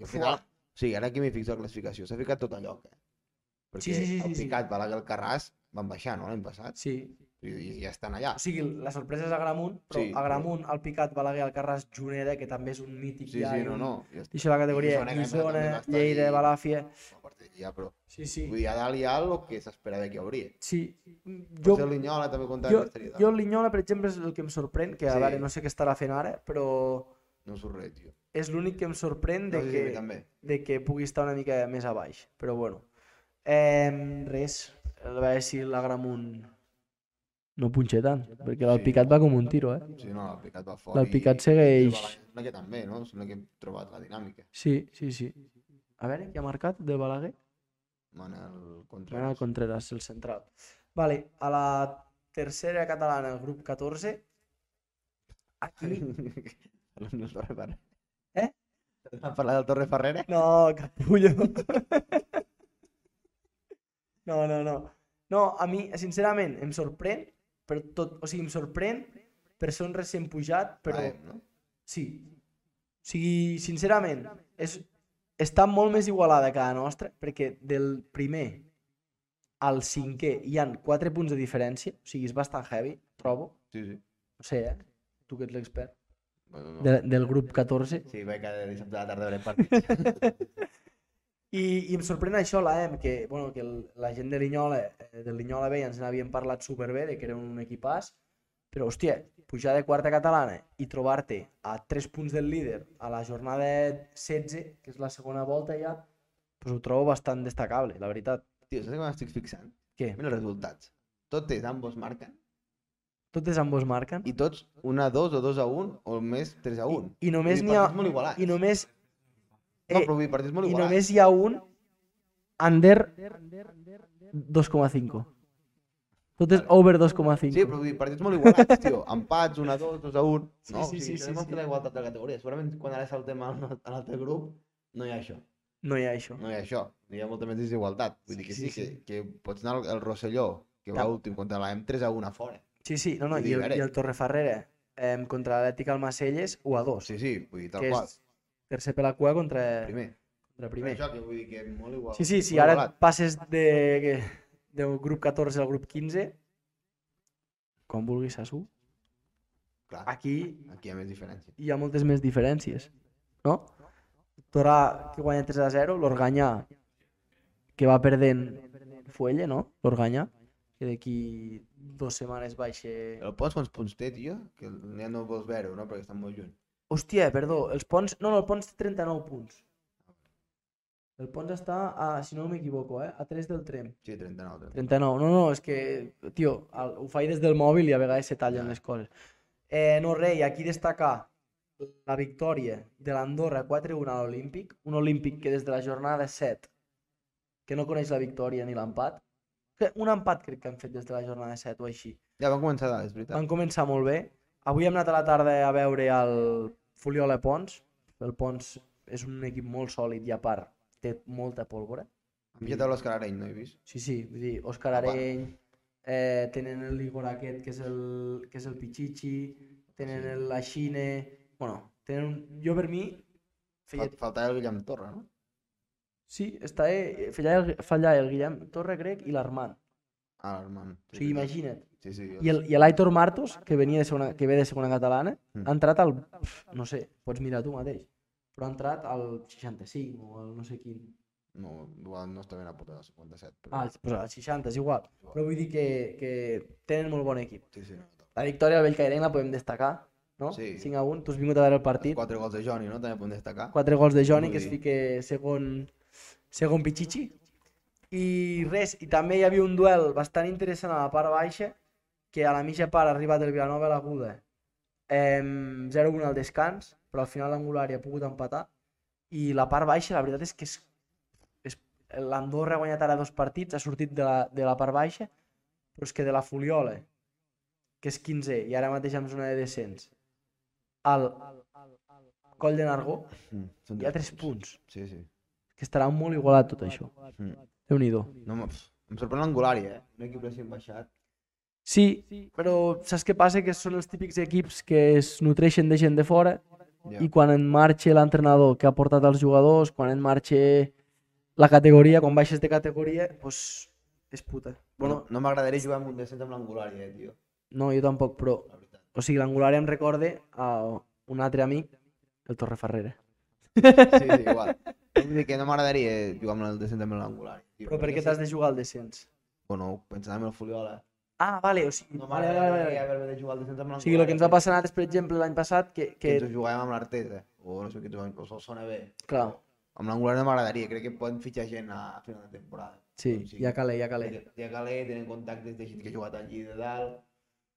Speaker 2: I al final, o sigui, ara aquí m'he fixat la classificació, s'ha ficat tot a lloc, eh? Perquè
Speaker 1: Sí, sí, sí, sí,
Speaker 2: el
Speaker 1: sí.
Speaker 2: picat, Balaguer, el Carràs van baixar, no?, l'any passat,
Speaker 1: Sí.
Speaker 2: i, i ja estan allà.
Speaker 1: O sigui, la sorpresa és Agramunt, però
Speaker 2: Sí, però-
Speaker 1: Agramunt, el Picat, Balaguer, el Carràs, Juneda, que també és un mític
Speaker 2: Sí,
Speaker 1: ja
Speaker 2: sí,
Speaker 1: i
Speaker 2: no,
Speaker 1: un-
Speaker 2: no, ja està.
Speaker 1: Deixa la categoría
Speaker 2: Guisona, que entra también va a
Speaker 1: Guisona,
Speaker 2: estar
Speaker 1: Lleida,
Speaker 2: ahí.
Speaker 1: Balafie.
Speaker 2: A partir d'allà, però
Speaker 1: Sí, sí.
Speaker 2: vull dir, a dalt hi ha el que s'esperava que hi hauria.
Speaker 1: Sí.
Speaker 2: Jo...
Speaker 1: Jo,
Speaker 2: Potser l'Inyola també comptava
Speaker 1: jo,
Speaker 2: que estaria dalt.
Speaker 1: jo el Linyola, per exemple, és el que em sorprèn, que a
Speaker 2: Sí.
Speaker 1: veure, no sé què estarà fent ara, però
Speaker 2: No surt res, tio.
Speaker 1: és l'únic que em sorprèn de,
Speaker 2: No sé si a mi
Speaker 1: que,
Speaker 2: també.
Speaker 1: de que pugui estar una mica més a baix. Però bueno. Eh, res, el va dir l'Agramunt no punxa tant, perquè l'Alpicat va com un tiro, eh?
Speaker 2: Sí, no, el picat va fort.
Speaker 1: Del Picat
Speaker 2: i-
Speaker 1: segueix.
Speaker 2: i Balaguer Sembla que també, no? Sembla que hem trobat la dinàmica.
Speaker 1: Sí, sí, sí. A veure, qui ha marcat de Balaguer?
Speaker 2: Manel contra...
Speaker 1: Manuel Contreras, el central. Vale, a la tercera catalana, el grup 14. Aquí...
Speaker 2: Parlem del Torre Ferrer.
Speaker 1: Eh?
Speaker 2: Vam parlar del Torre Ferrer?
Speaker 1: No, capullo. No, no, no. No, a mi, sincerament, em sorprèn per tot... O sigui, em sorprèn per ser un recent pujat, però
Speaker 2: Vale, no?
Speaker 1: sí. O sigui, sincerament, és, està molt més igualada que la nostra, perquè del primer al cinquè hi han 4 punts de diferència, o sigui, és bastant heavy, trobo.
Speaker 2: Sí, sí.
Speaker 1: No sé, eh? Tu que ets l'expert.
Speaker 2: Bueno, no.
Speaker 1: De, del grup 14.
Speaker 2: Sí, vaig cada dissabte a la tarda a veure partits.
Speaker 1: I, I em sorprèn això, l'AEM, que, bueno, que el, la gent de Linyola, eh, de Linyola Vella ens n'havien parlat superbé, de que era un equipàs, però, hòstia, pujar de quarta catalana i trobar-te a 3 punts del líder a la jornada 16, que és la segona volta ja, doncs ho trobo bastant destacable, la veritat.
Speaker 2: Tio, saps com estic fixant?
Speaker 1: Què?
Speaker 2: Mira els resultats. Tot és, ambos marquen,
Speaker 1: Totes ambos marquen
Speaker 2: i tots 1 a 2 o 2 a 1, o més 3 a 1.
Speaker 1: i només
Speaker 2: Vull
Speaker 1: n'hi
Speaker 2: dir,
Speaker 1: ha...
Speaker 2: partits molt igualats.
Speaker 1: I només... eh,
Speaker 2: No, però vull dir, partits molt
Speaker 1: I
Speaker 2: igualats.
Speaker 1: només hi ha un under 2,5. Tot és over 2,5.
Speaker 2: Sí, però vull dir, partits molt igualats, tio. Empats, 1 a 2, 2 a 1.
Speaker 1: Sí, sí,
Speaker 2: No, o
Speaker 1: sí,
Speaker 2: sigui,
Speaker 1: sí,
Speaker 2: sí, sí,
Speaker 1: sí.
Speaker 2: sí. la igualtat de categoria. Segurament quan ara saltem al, a l'altre grup, no hi ha això.
Speaker 1: No hi ha això.
Speaker 2: No hi ha això. Hi ha molta més desigualtat. Vull dir que
Speaker 1: Sí,
Speaker 2: sí,
Speaker 1: sí,
Speaker 2: que, que pots anar al- al Rosselló, que va
Speaker 1: Tam-
Speaker 2: últim contra la M3 a 1 a fora.
Speaker 1: Sí, sí, no, no,
Speaker 2: Vull
Speaker 1: i
Speaker 2: dir,
Speaker 1: el,
Speaker 2: a veure.
Speaker 1: i el Torrefarrera eh, contra l'Atlètic Almacelles 1 a 2.
Speaker 2: Sí, sí, vull dir, tal
Speaker 1: que
Speaker 2: qual.
Speaker 1: és tercer per la cua contra primer.
Speaker 2: Primer.
Speaker 1: Contra
Speaker 2: Primer.
Speaker 1: primer.
Speaker 2: Això que vull dir que molt igual.
Speaker 1: Sí, sí, sí,
Speaker 2: molt
Speaker 1: ara
Speaker 2: igualat.
Speaker 1: passes de, del grup 14 al grup 15, com vulguis, Sasu,
Speaker 2: Clar,
Speaker 1: aquí
Speaker 2: aquí hi ha més diferència.
Speaker 1: hi ha moltes més diferències, no? Torà, que guanya 3 a 0, l'Organyà, que va perdent Fuelle, no? L'Organyà, que d'aquí dues setmanes baixa...
Speaker 2: El Pons quants punts té, tio? Que el- ja no vols veure, no? Perquè estan molt lluny.
Speaker 1: Hòstia, eh, perdó, els Pons... No, no, el Pons té 39 punts. El Pons està, a, si no m'equivoco, eh? a 3 del Trem.
Speaker 2: Sí, 39. 39.
Speaker 1: 39, no, no, és que, tio, el, ho faig des del mòbil i a vegades se tallen
Speaker 2: Ja.
Speaker 1: les coses. Eh, no, rei, aquí destacar la victòria de l'Andorra 4-1 a l'Olímpic, un Olímpic que des de la jornada 7, que no coneix la victòria ni l'empat, que un empat crec que han fet des de la jornada 7 o així.
Speaker 2: Ja van començar dalt, és veritat.
Speaker 1: Van començar molt bé. Avui hem anat a la tarda a veure el Fuliola Pons. El Pons és un equip molt sòlid i a part té molta pólvora.
Speaker 2: Hem pixat l'Òscar Areny, no he vist?
Speaker 1: Sí, sí, vull dir, Òscar
Speaker 2: Ah, va.
Speaker 1: Areny, eh, tenen el Igor aquest, que és el, que és el Pichichi, tenen
Speaker 2: Sí.
Speaker 1: el Aixine... Bueno, tenen un... Jo per mi... Feia...
Speaker 2: Fal faltava el Guillem Torra, no?
Speaker 1: Sí, està... Eh, fallà, el, fallà el Guillem Torre, crec, i l'Armand.
Speaker 2: Ah, l'Armand.
Speaker 1: O sigui, imagina't.
Speaker 2: Sí, sí.
Speaker 1: I el- i l'Aitor Martos, que venia de segona, que ve de segona catalana,
Speaker 2: Mm.
Speaker 1: ha entrat al... pf, No sé, pots mirar tu mateix. Però ha entrat al 65 o al no sé quin.
Speaker 2: No, igual no està ben apuntat al 57, però...
Speaker 1: Ah, al- pues al 60, és igual. Però vull dir que, que tenen molt bon equip.
Speaker 2: Sí, sí.
Speaker 1: La victòria del Bellcairent la podem destacar, no?
Speaker 2: Sí.
Speaker 1: 5 a 1, tu has vingut a veure el
Speaker 2: Els
Speaker 1: partit. 4,
Speaker 2: quatre gols de Johnny, no? També podem destacar.
Speaker 1: gols de Johnny, que es
Speaker 2: Vull dir-
Speaker 1: fica segon, segon Pichichi. I res, i també hi havia un duel bastant interessant a la part baixa, que a la mitja part ha arribat el Vilanova a l'Aguda. Em, 0-1 al descans, però al final l'angular hi ha pogut empatar. I la part baixa, la veritat és que és, és l'Andorra ha guanyat ara dos partits, ha sortit de la, de la part baixa, però és que de la Fuliola, que és 15 i ara mateix amb zona de descens, al Coll de Nargó,
Speaker 2: Mm, són
Speaker 1: hi ha 3 punts,
Speaker 2: Sí, sí.
Speaker 1: que estarà molt igualat tot això.
Speaker 2: Mm.
Speaker 1: Déu-n'hi-do.
Speaker 2: No, em, em sorprèn l'Angolari, eh? Un equip recent baixat.
Speaker 1: Sí, però saps què passa? Que són els típics equips que es nutreixen de gent de fora,
Speaker 2: Ja.
Speaker 1: i quan en marxa l'entrenador que ha portat els jugadors, quan en marxa la categoria, quan baixes de categoria, doncs és puta. Bueno,
Speaker 2: no m'agradaria jugar amb un descens amb l'angulària, eh, tio.
Speaker 1: no, jo tampoc, però...
Speaker 2: La veritat.
Speaker 1: O sigui, l'angulària em recorda a un altre amic, el Torreferrera.
Speaker 2: Sí, sí, igual. Vull dir que no m'agradaria eh, jugar amb el descens amb l'angulària. tio,
Speaker 1: Però per
Speaker 2: perquè
Speaker 1: què t'has de jugar al descens?
Speaker 2: Bueno, pensant en el Fuliola.
Speaker 1: Ah, vale, o sigui...
Speaker 2: No
Speaker 1: vale, vale, vale.
Speaker 2: m'agradaria haver de jugar al descens amb l'angulària.
Speaker 1: O sigui, el que ens va passar a nosaltres, per exemple, l'any passat, que,
Speaker 2: Que
Speaker 1: que
Speaker 2: ens ho jugàvem amb l'Arteta, o no sé què ens ho jugàvem, o Solsona B.
Speaker 1: clar,
Speaker 2: Amb l'angulària no m'agradaria, crec que poden fitxar gent a final de temporada. Doncs
Speaker 1: sí, ja calé, ja calé.
Speaker 2: Calé. Ja Calé, tenen contactes de gent que ha jugat allí de dalt,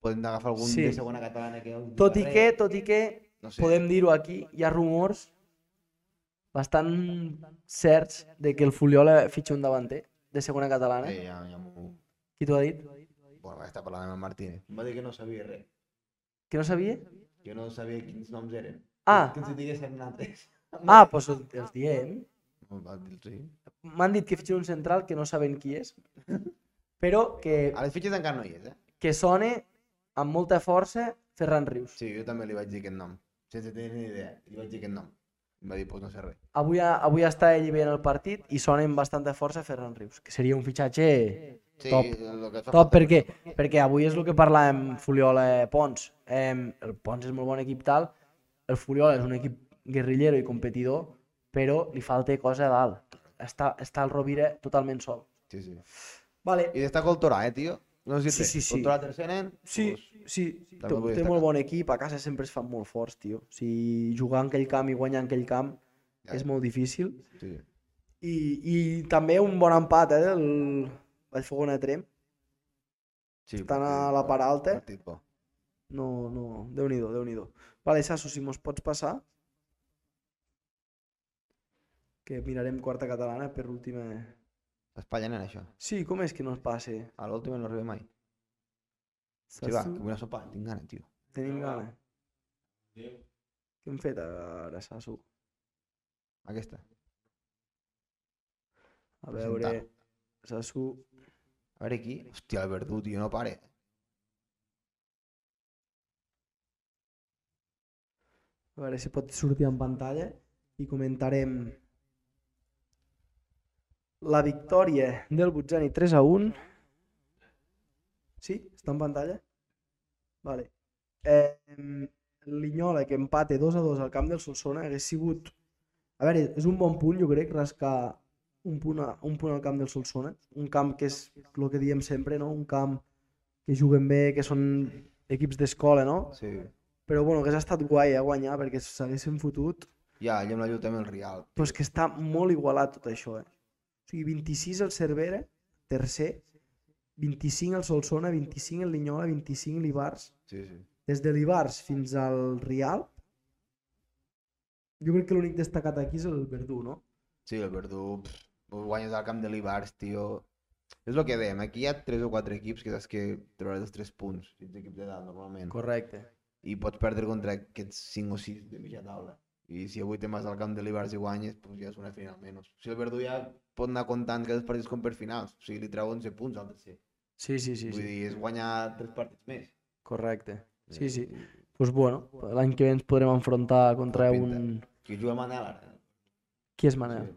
Speaker 2: poden agafar algun
Speaker 1: Sí.
Speaker 2: de segona catalana que no juga
Speaker 1: Tot i
Speaker 2: res,
Speaker 1: que, tot i que,
Speaker 2: no sé.
Speaker 1: podem dir-ho aquí, hi ha rumors bastant certs de que el Fuliola fitxa un davanter de segona catalana.
Speaker 2: Sí, ja, ja m'ho...
Speaker 1: Qui t'ho ha dit?
Speaker 2: Bueno, vaig estar parlant amb el eh? Martínez. Em va dir que no sabia res,
Speaker 1: Que no sabia?
Speaker 2: que no sabia quins noms eren.
Speaker 1: Ah.
Speaker 2: Que ens hi diguéssim nosaltres.
Speaker 1: Ah, doncs el, els diem.
Speaker 2: Em va dir, Sí.
Speaker 1: M'han dit que fitxen un central que no saben qui és, però que,
Speaker 2: A les fitxes encara no hi és, eh?
Speaker 1: que sona amb molta força Ferran Rius.
Speaker 2: Sí, jo també li vaig dir aquest nom, sense tenir ni idea. Li vaig dir aquest nom. Em va dir, doncs no sé res.
Speaker 1: Avui, ha- avui està ell veient el partit i sona amb bastanta força Ferran Rius, que seria un fitxatge
Speaker 2: Sí,
Speaker 1: top.
Speaker 2: el que
Speaker 1: Top,
Speaker 2: fa falta.
Speaker 1: per què? Perquè avui és el que parlàvem Fuliola-Pons. Eh, el Pons és molt bon equip tal, el Fuliola és un equip guerrillero i competidor, però li falta cosa a dalt. Està, està el Rovira totalment sol.
Speaker 2: Sí, sí.
Speaker 1: Vale.
Speaker 2: I destaca el Torà, eh, tio? No sé si
Speaker 1: Sí, sí, sí.
Speaker 2: El Torà tercer nen.
Speaker 1: Sí,
Speaker 2: doncs,
Speaker 1: sí, té,
Speaker 2: també vull
Speaker 1: té
Speaker 2: destacar.
Speaker 1: molt bon equip, a casa sempre es fan molt forts, tio. O sigui, jugar en aquell camp i guanyar en aquell camp
Speaker 2: Ja,
Speaker 1: és
Speaker 2: ja.
Speaker 1: molt difícil.
Speaker 2: sí.
Speaker 1: I, I també un bon empat, eh, del Vallfogona Trem.
Speaker 2: sí
Speaker 1: Estan
Speaker 2: partit
Speaker 1: a la
Speaker 2: bo,
Speaker 1: part alta.
Speaker 2: Partit bo.
Speaker 1: No, no, déu-n'hi-do, déu nhi déu Vale, Sasso, si mos pots passar. Que mirarem quarta catalana per última...
Speaker 2: Espanya, nen, això.
Speaker 1: Sí, com és que no es passe?
Speaker 2: A l'última no arriba mai. Sí,
Speaker 1: Sasso,
Speaker 2: va, que vull una sopa. Tinc gana, tio.
Speaker 1: tenim gana.
Speaker 3: Adéu.
Speaker 1: Què hem fet ara, Sasso?
Speaker 2: Aquesta.
Speaker 1: A
Speaker 2: Presentar.
Speaker 1: veure... Sasso...
Speaker 2: A veure aquí. Hòstia, el Verdú, tio, no pare.
Speaker 1: A veure si pot sortir en pantalla i comentarem la victòria del Butzani 3 a 1. Sí? Està en pantalla? Vale. Eh, L'Inyola que empate 2 a 2 al camp del Solsona hagués sigut... A veure, és un bon punt, jo crec, rascar un punt, a, un punt al camp del Solsona. Un camp que és el que diem sempre, no? Un camp que juguen bé, que són equips d'escola, no?
Speaker 2: Sí.
Speaker 1: Però bueno, hagués estat guai a guanyar perquè si s'haguessin fotut,
Speaker 2: Ja, allà amb la lluita amb el Real.
Speaker 1: però és que està molt igualat tot això, eh? O sigui, 26 el Cervera, tercer, 25 el Solsona, 25 el Linyola, 25 l'Ibars,
Speaker 2: Sí, sí.
Speaker 1: des de l'Ibars fins al Rial. Jo crec que l'únic destacat aquí és el Verdú, no?
Speaker 2: Sí, el Verdú, pff, ho guanyes al camp de l'Ibars, tio. És el que dèiem, aquí hi ha tres o quatre equips que saps que trobaràs els tres punts, si ets equip de dalt, normalment.
Speaker 1: Correcte.
Speaker 2: I pots perdre contra aquests cinc o sis de mitja taula. I si avui te'n vas al camp de l'Ibars i guanyes, doncs ja és una final menys. O sigui, el Verdú ja pot anar comptant que els partits com per finals. O sigui, li treu 11 punts al tercer.
Speaker 1: Sí, sí, sí,
Speaker 2: Vull
Speaker 1: sí.
Speaker 2: dir, és guanyar tres partits més.
Speaker 1: correcte.
Speaker 2: Eh.
Speaker 1: Sí, sí. Doncs pues bueno, l'any que ve ens podrem enfrontar contra
Speaker 2: Pinta.
Speaker 1: un...
Speaker 2: Que juga Manel ara.
Speaker 1: Qui és Manel?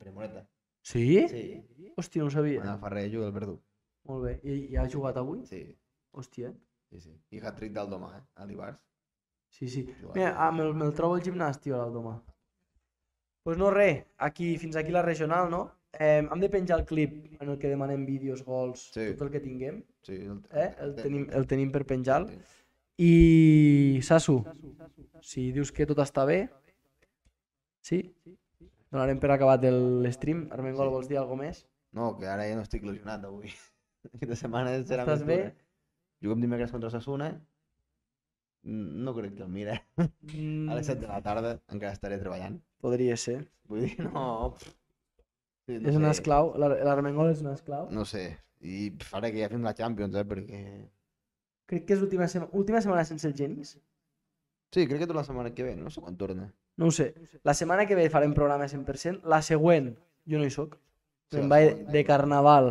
Speaker 2: Premoreta.
Speaker 1: Sí?
Speaker 2: Sí.
Speaker 1: Hòstia, no ho sabia.
Speaker 2: Manel Ferrer juga el Verdú.
Speaker 1: Molt bé. I, i ha jugat avui?
Speaker 2: Sí,
Speaker 1: Hòstia.
Speaker 2: sí, sí. I hat-trick del Domà, eh? A l'Ibars.
Speaker 1: Sí, sí.
Speaker 2: Jugar.
Speaker 1: Mira, ah, me'l me trobo al gimnàs, tio, l'Aldomà. Doncs pues no res, aquí, fins aquí la regional, no? Eh, hem de penjar el clip en el que demanem vídeos, gols,
Speaker 2: Sí.
Speaker 1: tot el que tinguem,
Speaker 2: Sí, el,
Speaker 1: eh? El tenim, el tenim per penjar-lo.
Speaker 2: Sí.
Speaker 1: I, Sasu, si dius que tot està bé, sí? Donarem per acabat el stream. Armengol,
Speaker 2: Sí.
Speaker 1: vols dir alguna més?
Speaker 2: No, que ara ja no estic il·lusionat avui. Aquesta setmana serà
Speaker 1: Estàs
Speaker 2: més
Speaker 1: bé?
Speaker 2: dura. Juguem dimecres contra Sassuna. No crec que el mire. A les 7 de
Speaker 1: Mm.
Speaker 2: la tarda encara estaré treballant.
Speaker 1: Podria ser.
Speaker 2: Vull dir, no... pff. Sí, no
Speaker 1: és un
Speaker 2: sé,
Speaker 1: esclau, l'Ar- l'Armengol és un esclau.
Speaker 2: No sé. I pff, ara que ja fem la Champions, eh, perquè...
Speaker 1: Crec que és l'última sema... última setmana sense el Genís.
Speaker 2: Sí, crec que tota la setmana que ve, no sé quan torna.
Speaker 1: No ho sé. La setmana que ve farem programa 100%. La següent, jo no hi soc.
Speaker 2: Sí,
Speaker 1: Me'n
Speaker 2: la
Speaker 1: vaig
Speaker 2: següent.
Speaker 1: de carnaval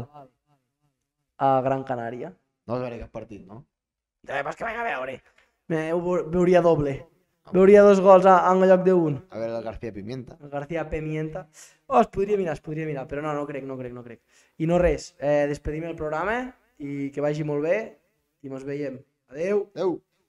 Speaker 1: a Gran Canària.
Speaker 2: No es veurà cap partit, no?
Speaker 1: Eh, vas que vaig a veure. Me, ho veu- veuria doble.
Speaker 2: Ah,
Speaker 1: L'Uria dos gols a, en lloc d'un.
Speaker 2: A veure, el García Pimienta.
Speaker 1: El García Pemienta. Oh, es podria mirar, es podria mirar, però no, no crec, no crec, no crec. I no res, eh, despedim el programa i que vagi molt bé i mos veiem. Adeu!
Speaker 2: Adéu.